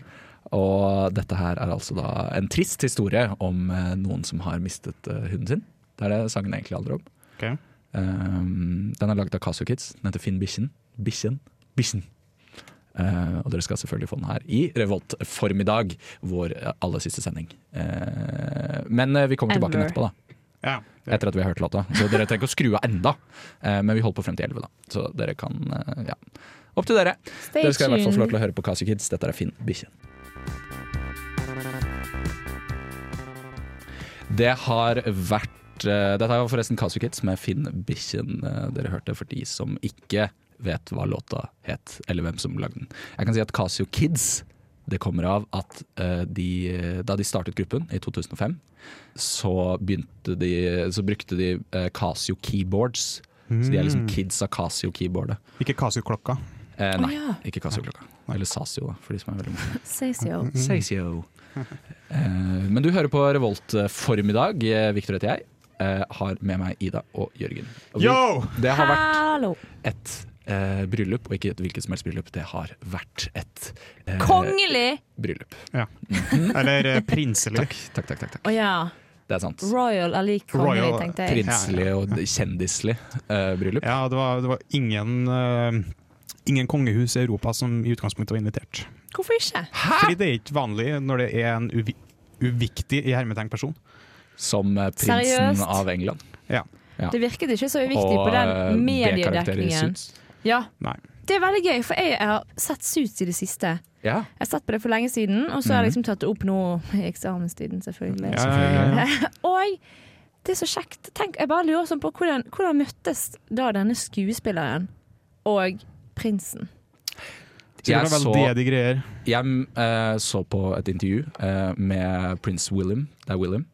Speaker 2: Og dette her er altså da en trist historie om eh, noen som har mistet eh, hunden sin. Det er det sangen egentlig handler om.
Speaker 4: Ok.
Speaker 2: Eh, den er laget av Casio Kids. Den heter Finn Bikkjen. Bikkjen. Bikkjen. Eh, og dere skal selvfølgelig få den her i Revolt formiddag, vår aller siste sending. Eh, men eh, vi kommer tilbake
Speaker 3: Ever.
Speaker 2: etterpå, da.
Speaker 4: Ja.
Speaker 2: etter at vi har hørt låta. Så dere trenger ikke å skru av enda, Eh, men vi holder på frem til 11, da. Så dere kan eh, Ja. Opp til dere.
Speaker 3: Stay
Speaker 2: Dere skal i hvert fall få lov
Speaker 3: tuned.
Speaker 2: til å høre på Casio Kids. Dette er Finn Bikkjen. Det har vært eh, Dette var forresten Casio Kids med Finn Bikkjen eh, dere hørte, for de som ikke vet hva låta het, eller hvem som lagde den. Jeg kan si at Casio Kids det kommer av at eh, de, da de startet gruppen i 2005, så begynte de Så brukte de eh, Casio keyboards. Så de er liksom kids av Casio-keyboardet.
Speaker 4: Ikke Casio-klokka.
Speaker 2: Eh, nei,
Speaker 3: ja.
Speaker 2: ikke Casio-klokka. Eller Sasio, da, for de som er veldig morsomme.
Speaker 3: Says yo.
Speaker 2: Mm. Sasio. Eh, men du hører på Revolt eh, formiddag. Eh, Victor heter jeg. Eh, har med meg Ida og Jørgen. Og vi-
Speaker 4: Yo!
Speaker 2: Det har vært
Speaker 3: Hallo.
Speaker 2: et eh, bryllup, og ikke et hvilket som helst bryllup. Det har vært et eh,
Speaker 3: Kongelig!
Speaker 2: bryllup.
Speaker 4: Ja. Eller eh, prinselig.
Speaker 2: Takk, takk, takk. takk,
Speaker 3: Å
Speaker 2: takk.
Speaker 3: ja.
Speaker 2: Det er sant.
Speaker 3: Royal er lik kongelig,
Speaker 4: Royal,
Speaker 3: tenkte jeg.
Speaker 2: Prinselig og kjendislig eh, bryllup.
Speaker 4: Ja, det var, det var ingen eh, Ingen kongehus i Europa som i utgangspunktet var invitert.
Speaker 3: Hvorfor ikke?
Speaker 4: Fordi det er ikke vanlig når det er en uvi uviktig i hermetegn person.
Speaker 2: Som eh, prinsen
Speaker 3: Seriøst?
Speaker 2: av England.
Speaker 4: Ja.
Speaker 3: Det virket ikke så uviktig
Speaker 2: Og
Speaker 3: på
Speaker 2: eh, B-karakter
Speaker 3: den
Speaker 2: i
Speaker 3: mediedekningen.
Speaker 2: Suits.
Speaker 3: Ja,
Speaker 4: Nei.
Speaker 3: det er veldig gøy, for jeg har sett Suits i det siste.
Speaker 2: Ja.
Speaker 3: Jeg har sett på det for lenge siden, og
Speaker 2: Mhm.
Speaker 3: så har jeg liksom tatt det opp nå i eksamenstiden, selvfølgelig.
Speaker 4: Ja, ja, ja.
Speaker 3: Og det er så kjekt. Tenk, jeg bare lurer sånn på hvordan, hvordan møttes da denne skuespilleren og prinsen?
Speaker 2: Jeg
Speaker 4: Sikkert noen
Speaker 2: så-
Speaker 4: veldedige greier.
Speaker 2: Jeg eh, så på et intervju eh, med prins William. Det er William.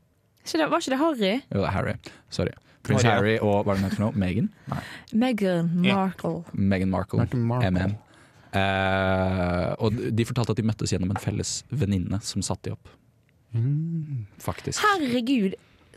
Speaker 3: Ikke det, var ikke det Harry?
Speaker 2: Jo, det er Harry. Sorry. Prins
Speaker 4: Maria.
Speaker 2: Harry og hva er det hun heter for noe? Meghan? Nei.
Speaker 3: Meghan Markle.
Speaker 2: Meghan Markle.
Speaker 4: Meghan Markle.
Speaker 2: MM. Eh, og de fortalte at de møttes gjennom en felles venninne som satte de opp.
Speaker 4: Mm.
Speaker 2: Faktisk.
Speaker 3: Herregud,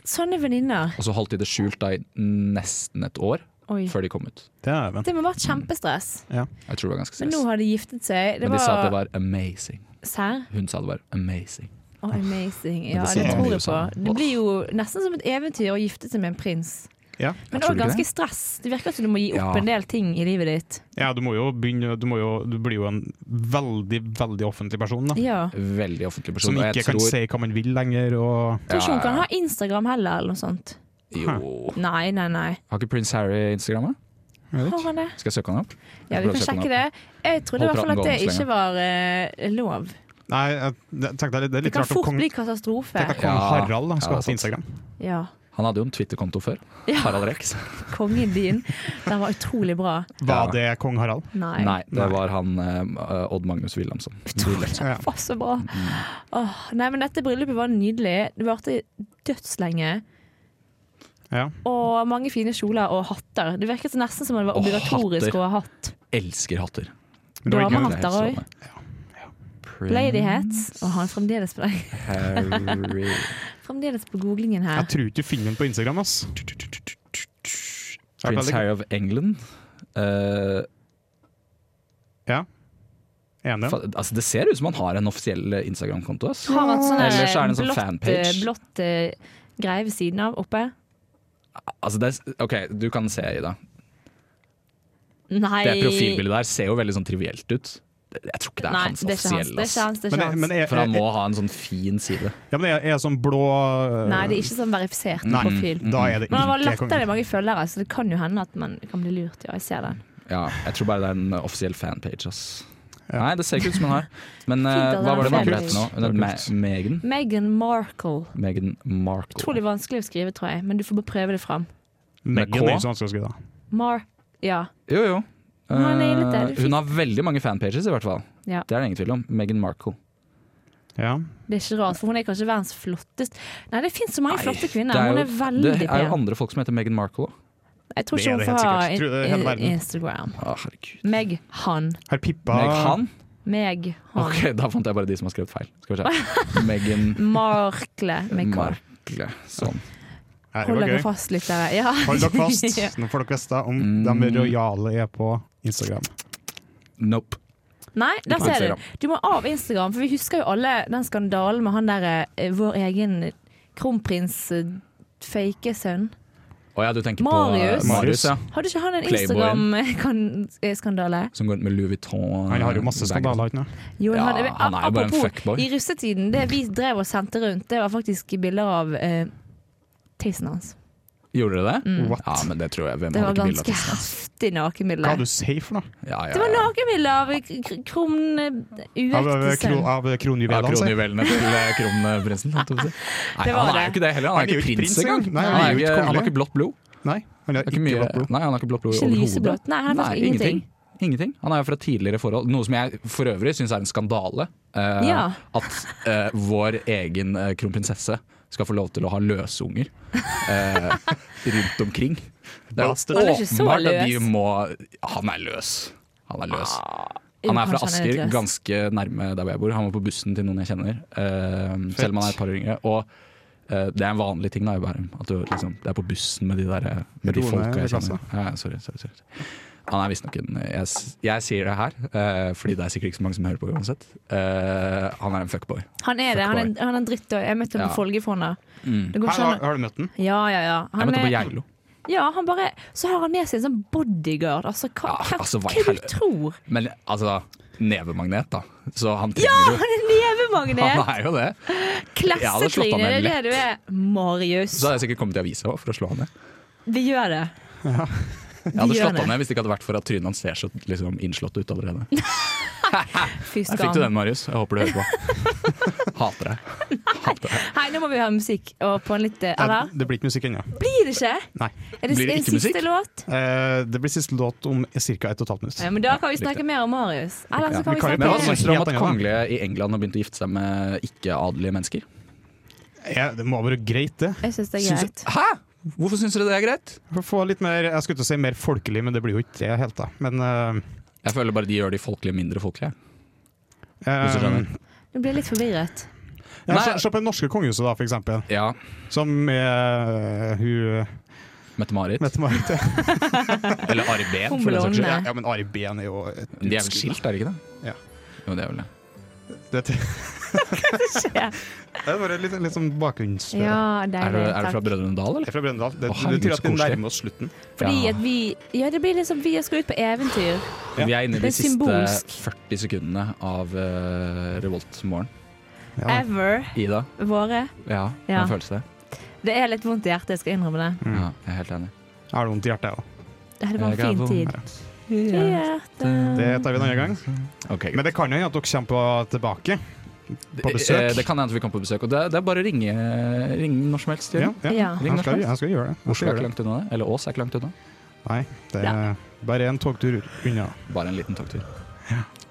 Speaker 3: sånne venninner.
Speaker 2: Og så holdt de det skjult da i nesten et år
Speaker 3: Oi.
Speaker 2: før de kom ut.
Speaker 4: Dæven.
Speaker 3: Det må ha vært kjempestress.
Speaker 2: Jeg tror det var ganske
Speaker 3: Men
Speaker 2: stress.
Speaker 3: nå har de giftet seg. Det
Speaker 2: Men de sa at det
Speaker 3: var
Speaker 2: var amazing.
Speaker 3: Serr?
Speaker 2: Hun sa det var amazing.
Speaker 3: Å, amazing.
Speaker 2: det
Speaker 3: Ja,
Speaker 2: sier
Speaker 3: det
Speaker 2: man
Speaker 3: tror
Speaker 2: jo
Speaker 3: jeg på.
Speaker 2: sånn.
Speaker 3: Det blir jo nesten som et eventyr å gifte seg med en prins.
Speaker 4: Ja.
Speaker 3: Men
Speaker 2: tror
Speaker 3: òg
Speaker 2: du ikke
Speaker 3: ganske
Speaker 2: det?
Speaker 3: stress. Det virker som du må gi
Speaker 2: Ja.
Speaker 3: opp en del ting i livet ditt.
Speaker 4: ja, du må jo begynne Du, må jo, du blir jo en veldig, veldig offentlig person, da.
Speaker 3: Ja.
Speaker 2: Veldig offentlig person.
Speaker 4: Som
Speaker 2: og jeg
Speaker 4: ikke kan
Speaker 2: tror-
Speaker 4: si hva man vil lenger. Og
Speaker 3: Tror ikke
Speaker 2: Ja,
Speaker 3: hun kan
Speaker 2: ja,
Speaker 3: ha Instagram heller, eller noe sånt.
Speaker 2: Jo.
Speaker 3: Nei, nei, nei.
Speaker 2: Har ikke prins Harry Instagram? da?
Speaker 3: Har han det?
Speaker 2: Skal jeg søke han opp?
Speaker 3: Ja,
Speaker 2: Jeg
Speaker 3: vi
Speaker 2: prøver å
Speaker 3: kan
Speaker 2: søke
Speaker 3: sjekke
Speaker 2: den
Speaker 3: det. Jeg trodde i
Speaker 2: Hold
Speaker 3: hvert fall at
Speaker 2: praten
Speaker 3: det
Speaker 2: gående så
Speaker 3: ikke var eh, lov.
Speaker 4: Nei, jeg, jeg tenkte det er
Speaker 3: Det
Speaker 4: litt
Speaker 3: kan
Speaker 4: rart om
Speaker 3: fort
Speaker 4: kong,
Speaker 3: bli katastrofe.
Speaker 4: tenk at kong
Speaker 2: Ja.
Speaker 4: Harald da,
Speaker 2: Ja,
Speaker 4: skal
Speaker 2: det er
Speaker 4: ha på Instagram.
Speaker 3: Ja.
Speaker 2: Han hadde jo en Twitter-konto før.
Speaker 3: ja.
Speaker 2: Harald Rex.
Speaker 3: Kongen din. Den var utrolig bra.
Speaker 2: Ja.
Speaker 4: Var det kong Harald?
Speaker 3: Nei.
Speaker 2: Nei, det
Speaker 4: Nei.
Speaker 2: var han eh, Odd Magnus Wilhelmsen. Wilhelmsen. Mm.
Speaker 4: Ja.
Speaker 3: Det var så bra. Åh, nei, men dette bryllupet var nydelig. Det varte dødslenge.
Speaker 4: Ja.
Speaker 3: Og mange fine kjoler og hatter. Det virket nesten som om det var
Speaker 2: Åh,
Speaker 3: obligatorisk
Speaker 2: hatter.
Speaker 3: å ha hatt.
Speaker 2: Elsker hatter.
Speaker 4: Men det var ikke,
Speaker 3: Dama. Hatter
Speaker 2: Det er helt
Speaker 3: også.
Speaker 2: strålende.
Speaker 3: Lady hats. Og han er fremdeles på,
Speaker 2: Harry
Speaker 3: fremdeles på googlingen her.
Speaker 4: jeg tror ikke du finner den på Instagram, ass.
Speaker 2: Prins Harry of England. Eh,
Speaker 4: Ja. Enig.
Speaker 2: Fa- Altså, det ser ut som han har en offisiell eh, Instagram-konto. ass.
Speaker 3: Har han sånn
Speaker 2: Eller så er det en
Speaker 3: der
Speaker 2: sånn
Speaker 3: blått,
Speaker 2: fanpage.
Speaker 3: eh, blått eh, greie ved siden av oppe?
Speaker 2: Altså, det er, ok, du kan se i det.
Speaker 3: Nei.
Speaker 2: Det profilbildet der ser jo veldig sånn trivielt ut. Det- Jeg tror ikke det er
Speaker 3: Nei,
Speaker 2: hans
Speaker 3: det er ikke hans.
Speaker 2: offisielle.
Speaker 3: Det er
Speaker 2: ass.
Speaker 3: ikke hans, det er
Speaker 4: Men,
Speaker 3: ikke hans.
Speaker 4: men er,
Speaker 2: For han
Speaker 4: er,
Speaker 2: må ha en sånn fin side.
Speaker 4: ja, men er, er sånn blå eh,
Speaker 3: Nei, det er ikke sånn verifisert
Speaker 4: Nei.
Speaker 3: profil.
Speaker 4: Da er det
Speaker 3: Men han var
Speaker 4: ikke
Speaker 3: latterlig mange følgere, så det kan jo hende at man kan bli lurt. Ja, jeg ser den.
Speaker 2: Ja, jeg tror bare det er en offisiell fanpage. Ass. Nei, det ser ikke ut som han har. Men eh,
Speaker 3: at
Speaker 2: hva
Speaker 3: det
Speaker 2: var
Speaker 3: er
Speaker 2: det
Speaker 3: en
Speaker 2: navnet
Speaker 3: fanpage.
Speaker 2: etter nå? Hun het Ma- Megan?
Speaker 3: Meghan Markle.
Speaker 2: Megan Markle.
Speaker 3: Utrolig vanskelig å skrive, tror jeg, men du får bare prøve det fram.
Speaker 2: Med K?
Speaker 4: Meggen er ikke så vanskelig å skrive. da.
Speaker 3: Mar... Ja.
Speaker 2: Jo, jo.
Speaker 3: Han er litt der,
Speaker 2: Eh,
Speaker 3: du fikk-
Speaker 2: hun har veldig mange fanpages, i hvert fall.
Speaker 3: Ja.
Speaker 2: Det er det ingen tvil om. Megan Markle.
Speaker 4: Ja.
Speaker 3: Det er ikke rart, for hun er kanskje verdens flotteste Nei, det finnes så mange
Speaker 2: Nei,
Speaker 3: flotte kvinner.
Speaker 2: Det er,
Speaker 3: Hun
Speaker 2: jo,
Speaker 3: er veldig
Speaker 2: det er jo
Speaker 3: pen.
Speaker 2: andre folk som heter Megan Markle òg.
Speaker 3: Jeg tror
Speaker 4: Det
Speaker 3: ikke
Speaker 4: er
Speaker 3: hun
Speaker 4: det
Speaker 3: får
Speaker 4: helt
Speaker 3: ha
Speaker 4: sikkert. Jeg tror det er hele
Speaker 3: in-
Speaker 4: verden.
Speaker 3: Instagram.
Speaker 2: Å, herregud.
Speaker 3: Meg, han.
Speaker 4: Har Pippa
Speaker 2: Meg han?
Speaker 3: Meg, han.
Speaker 2: Ok, da fant jeg bare de som har skrevet feil. Skal vi se. Megan
Speaker 3: Markle. Meg, han.
Speaker 2: Markle. Sånn.
Speaker 4: Nei, det
Speaker 3: Hold
Speaker 4: var
Speaker 3: dere
Speaker 4: gøy.
Speaker 3: fast litt der. Ja.
Speaker 4: Hold dere fast.
Speaker 3: Ja.
Speaker 4: Nå får dere vite om
Speaker 2: Mm.
Speaker 4: de rojale er på Instagram.
Speaker 2: Nope.
Speaker 3: Nei, der
Speaker 2: på
Speaker 3: ser
Speaker 2: Instagram.
Speaker 3: du. Du må av Instagram, for vi husker jo alle den skandalen med han derre vår egen kronprins eh, fake sønn.
Speaker 2: Å ja, du tenker
Speaker 3: Marius.
Speaker 2: på eh, Marius, ja.
Speaker 3: Hadde ikke han en eh,
Speaker 2: Playboyen.
Speaker 3: Instagram-skandale?
Speaker 2: Som går rundt med Louis Vuitton.
Speaker 4: Han har jo masse
Speaker 2: bag.
Speaker 4: skandaler. ikke sant?
Speaker 3: Jo,
Speaker 2: Ja,
Speaker 3: men
Speaker 2: han er jo bare en
Speaker 3: apropos,
Speaker 2: fuckboy.
Speaker 3: I russetiden, det vi drev og sendte rundt, det var faktisk bilder av eh, tissen hans.
Speaker 2: Gjorde dere det?
Speaker 3: Mm.
Speaker 4: What?
Speaker 2: Ja, men det tror jeg. Hvem
Speaker 3: Det var
Speaker 2: hadde ikke bilde av
Speaker 3: ganske
Speaker 2: tissen?
Speaker 3: heftig
Speaker 4: Hva
Speaker 3: nakenbilde.
Speaker 4: er du sier for noe?
Speaker 2: Ja, ja, ja.
Speaker 3: Det var nakenbilde av k- k- kron... eh,
Speaker 4: Av, øh,
Speaker 3: uekte
Speaker 4: kro,
Speaker 3: sønn.
Speaker 4: av
Speaker 2: Ja,
Speaker 4: kronjuvelene? altså? sier jeg.
Speaker 2: kronjuvelene til eh, kronprinsen. holdt jeg på å si. Nei,
Speaker 3: Det var
Speaker 2: han er
Speaker 3: det.
Speaker 2: jo ikke det heller. Han er ikke prins engang.
Speaker 4: Nei,
Speaker 2: Han, er
Speaker 4: jo
Speaker 2: ikke- han har
Speaker 4: kongelig.
Speaker 2: ikke blått blod.
Speaker 4: Nei, han har
Speaker 2: Det er
Speaker 4: ikke
Speaker 2: ikke mye,
Speaker 4: blått blod.
Speaker 2: nei, han har ikke blått blod
Speaker 3: Ikke
Speaker 2: overhodet.
Speaker 3: lyseblått. Nei, han har faktisk ingenting.
Speaker 2: Ingenting. Han er jo fra tidligere forhold. Noe som jeg for øvrig syns er en skandale. eh,
Speaker 3: Ja.
Speaker 2: At eh, vår egen eh, kronprinsesse skal få lov til å ha løsunger eh, rundt omkring. Det
Speaker 4: Bastard.
Speaker 3: Han er ikke så
Speaker 2: åpenbart at de
Speaker 3: løs.
Speaker 2: må Han er løs. Han er løs.
Speaker 3: Jo,
Speaker 2: Han er fra
Speaker 3: kanskje han er litt
Speaker 2: Asker,
Speaker 3: løs.
Speaker 2: ganske nærme der hvor jeg bor. Han var på bussen til noen jeg kjenner, eh, selv om han er et par år yngre. Og eh, det er en vanlig ting da i Bærum. At du liksom, det er på bussen med de, der, eh, med de
Speaker 4: Roende
Speaker 2: folka jeg
Speaker 4: klasse.
Speaker 2: kjenner. Ja, ja, sorry, sorry, sorry. Han er visstnok en jeg, s- jeg sier det her, eh, fordi det er sikkert ikke så mange som hører på uansett. Eh, han er en fuckboy.
Speaker 3: Han er det. Han er, han er en drittøy. Jeg møtte ham
Speaker 2: Ja. Mm.
Speaker 3: på Folgefonna. Det går
Speaker 4: Her,
Speaker 3: ikke
Speaker 4: har,
Speaker 3: an å-
Speaker 4: har du møtt den?
Speaker 3: Ja, ja, ja.
Speaker 2: Jeg
Speaker 3: Han
Speaker 2: møtte ham på
Speaker 3: er,
Speaker 2: Geilo.
Speaker 3: ja, han bare, så har han med seg en sånn bodyguard. Altså, hva,
Speaker 2: Ja,
Speaker 3: hva,
Speaker 2: altså, hva i
Speaker 3: hva du
Speaker 2: helvete?
Speaker 3: tror?
Speaker 2: Men altså, nevemagnet, da. Så han
Speaker 3: Ja,
Speaker 2: trenger jo
Speaker 3: han er nevemagnet!
Speaker 2: Han er jo det. Jeg hadde slått han
Speaker 3: Klassetryne, det
Speaker 2: ned
Speaker 3: er det du er. Marius.
Speaker 2: Så hadde jeg sikkert kommet i avisa også for å slå han ned.
Speaker 3: Vi gjør det.
Speaker 2: Jeg hadde
Speaker 3: Vi
Speaker 2: slått
Speaker 3: gjør det.
Speaker 2: han ned hvis det ikke hadde vært for at trynet hans ser så liksom, innslått ut allerede.
Speaker 3: Fy
Speaker 2: Der fikk du den,
Speaker 3: skam.
Speaker 2: Marius. Jeg håper du hører på. Hater deg. Hater deg.
Speaker 3: Hei, nå må vi høre musikk. Og på en litt eh,
Speaker 4: Nei,
Speaker 3: Eller?
Speaker 4: det blir ikke musikk ennå.
Speaker 3: Blir det ikke?
Speaker 4: Nei.
Speaker 3: Er
Speaker 2: Blir det
Speaker 3: det, er det
Speaker 2: ikke
Speaker 3: siste
Speaker 2: musikk?
Speaker 3: låt?
Speaker 4: Eh, det blir siste låt om ca. 1 12 minutt.
Speaker 3: Ja, men da kan vi
Speaker 2: riktig.
Speaker 3: snakke mer om Marius. Eller så kan
Speaker 4: vi
Speaker 3: vi
Speaker 4: kan jo
Speaker 2: Men hva
Speaker 4: det
Speaker 3: snakke
Speaker 2: syns
Speaker 4: er
Speaker 2: dere om
Speaker 4: helt
Speaker 2: at
Speaker 4: enig, da.
Speaker 2: kongelige i England har begynt å gifte seg med ikke-adelige mennesker?
Speaker 4: Ja, det må være greit, det.
Speaker 3: Jeg syns det er
Speaker 2: Syns-
Speaker 3: greit.
Speaker 2: Hæ? Hvorfor syns dere det er greit?
Speaker 4: For å få litt mer Jeg skulle til å si mer folkelig, men det blir jo ikke det helt, da. Men eh,
Speaker 2: Jeg føler bare de gjør de folkelige mindre folkelige.
Speaker 4: eh,
Speaker 2: Hvis du skjønner.
Speaker 3: Du blir jeg litt forvirret.
Speaker 4: ja,
Speaker 2: Nei.
Speaker 4: se- Se på det norske kongehuset, da, for eksempel.
Speaker 2: Ja,
Speaker 4: Som eh, hun
Speaker 2: Mette-Marit.
Speaker 4: Mette-Marit.
Speaker 2: Eller Ari Behn,
Speaker 3: Hun
Speaker 2: for den saks skyld.
Speaker 3: blonde.
Speaker 4: Ja, ja, men Ari Behn er jo et
Speaker 2: De er vel
Speaker 4: utskudd,
Speaker 2: skilt, er de ikke det?
Speaker 4: Ja.
Speaker 2: Jo, det er vel det.
Speaker 4: da. Det er det er bare litt, litt sånn bakgrunns...
Speaker 3: Ja, deilig.
Speaker 2: Er du, er du fra
Speaker 3: takk.
Speaker 2: Brødrene Dal,
Speaker 4: Jeg
Speaker 2: eller?
Speaker 4: er fra Brøndal. Det,
Speaker 2: Å, herregud,
Speaker 4: det betyr at
Speaker 2: så
Speaker 4: vi
Speaker 2: koselig.
Speaker 4: nærmer oss slutten.
Speaker 3: Fordi
Speaker 2: Ja.
Speaker 3: at vi Ja, det blir liksom Vi skal ut på eventyr.
Speaker 4: Ja.
Speaker 2: Vi er inne i
Speaker 3: Det er
Speaker 2: de siste
Speaker 3: symbolsk.
Speaker 2: 40 sekundene av uh, Revolt-morgen.
Speaker 4: Ja.
Speaker 3: Ever.
Speaker 2: Ida,
Speaker 3: Våre.
Speaker 2: ja,
Speaker 3: Ja.
Speaker 2: hvordan føles det?
Speaker 3: Det er litt vondt i hjertet, jeg skal innrømme det.
Speaker 2: Ja, jeg er helt enig.
Speaker 4: Mm. Jeg har det vondt i hjertet, jeg òg.
Speaker 3: Det hadde vært en fin tid. I hjertet.
Speaker 4: Det tar vi en annen gang.
Speaker 2: Ok,
Speaker 4: Men det kan jo hende at dere kommer på- tilbake. På besøk.
Speaker 2: Eh, Det kan hende at vi kommer på besøk. Og det, er- det er bare å ringe, ringe når som helst.
Speaker 4: Ja,
Speaker 2: Ja.
Speaker 4: ja.
Speaker 3: Ja.
Speaker 4: Jeg, skal, jeg skal gjøre det. Jeg
Speaker 2: Oslo
Speaker 4: skal
Speaker 2: er ikke
Speaker 4: gjøre det.
Speaker 2: langt unna det. Eller Ås er ikke langt unna.
Speaker 4: Nei, det er bare en togtur unna.
Speaker 2: Bare en liten togtur.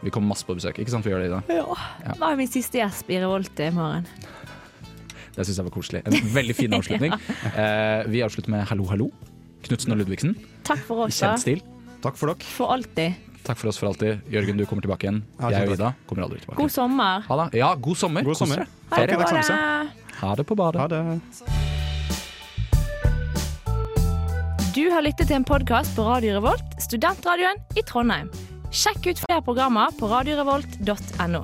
Speaker 2: Vi kommer masse på besøk. Ikke sant vi gjør det i dag?
Speaker 3: Ja. Det var min siste gjesp i Revolt i morgen.
Speaker 2: Det syns jeg var koselig. En veldig fin avslutning. Eh, vi avslutter med Hallo, hallo. Knutsen og Ludvigsen.
Speaker 3: Takk
Speaker 2: I
Speaker 3: for oss, da.
Speaker 2: kjent stil.
Speaker 4: Takk for dere.
Speaker 3: For alltid.
Speaker 2: Takk for oss for alltid. Jørgen, du kommer tilbake igjen.
Speaker 4: Ja,
Speaker 2: Jeg og
Speaker 4: takk.
Speaker 2: Ida kommer aldri tilbake.
Speaker 3: God sommer.
Speaker 2: Ha det. Ja, god sommer.
Speaker 4: God
Speaker 2: Kos
Speaker 4: sommer.
Speaker 2: dere.
Speaker 3: Ha
Speaker 4: Takk,
Speaker 3: det bra.
Speaker 4: takk,
Speaker 3: da.
Speaker 2: Ha det på badet.
Speaker 4: Ha det.
Speaker 3: Du har lyttet til en podkast på Radio Revolt, studentradioen i Trondheim. Sjekk ut flere programmer på radiorevolt.no.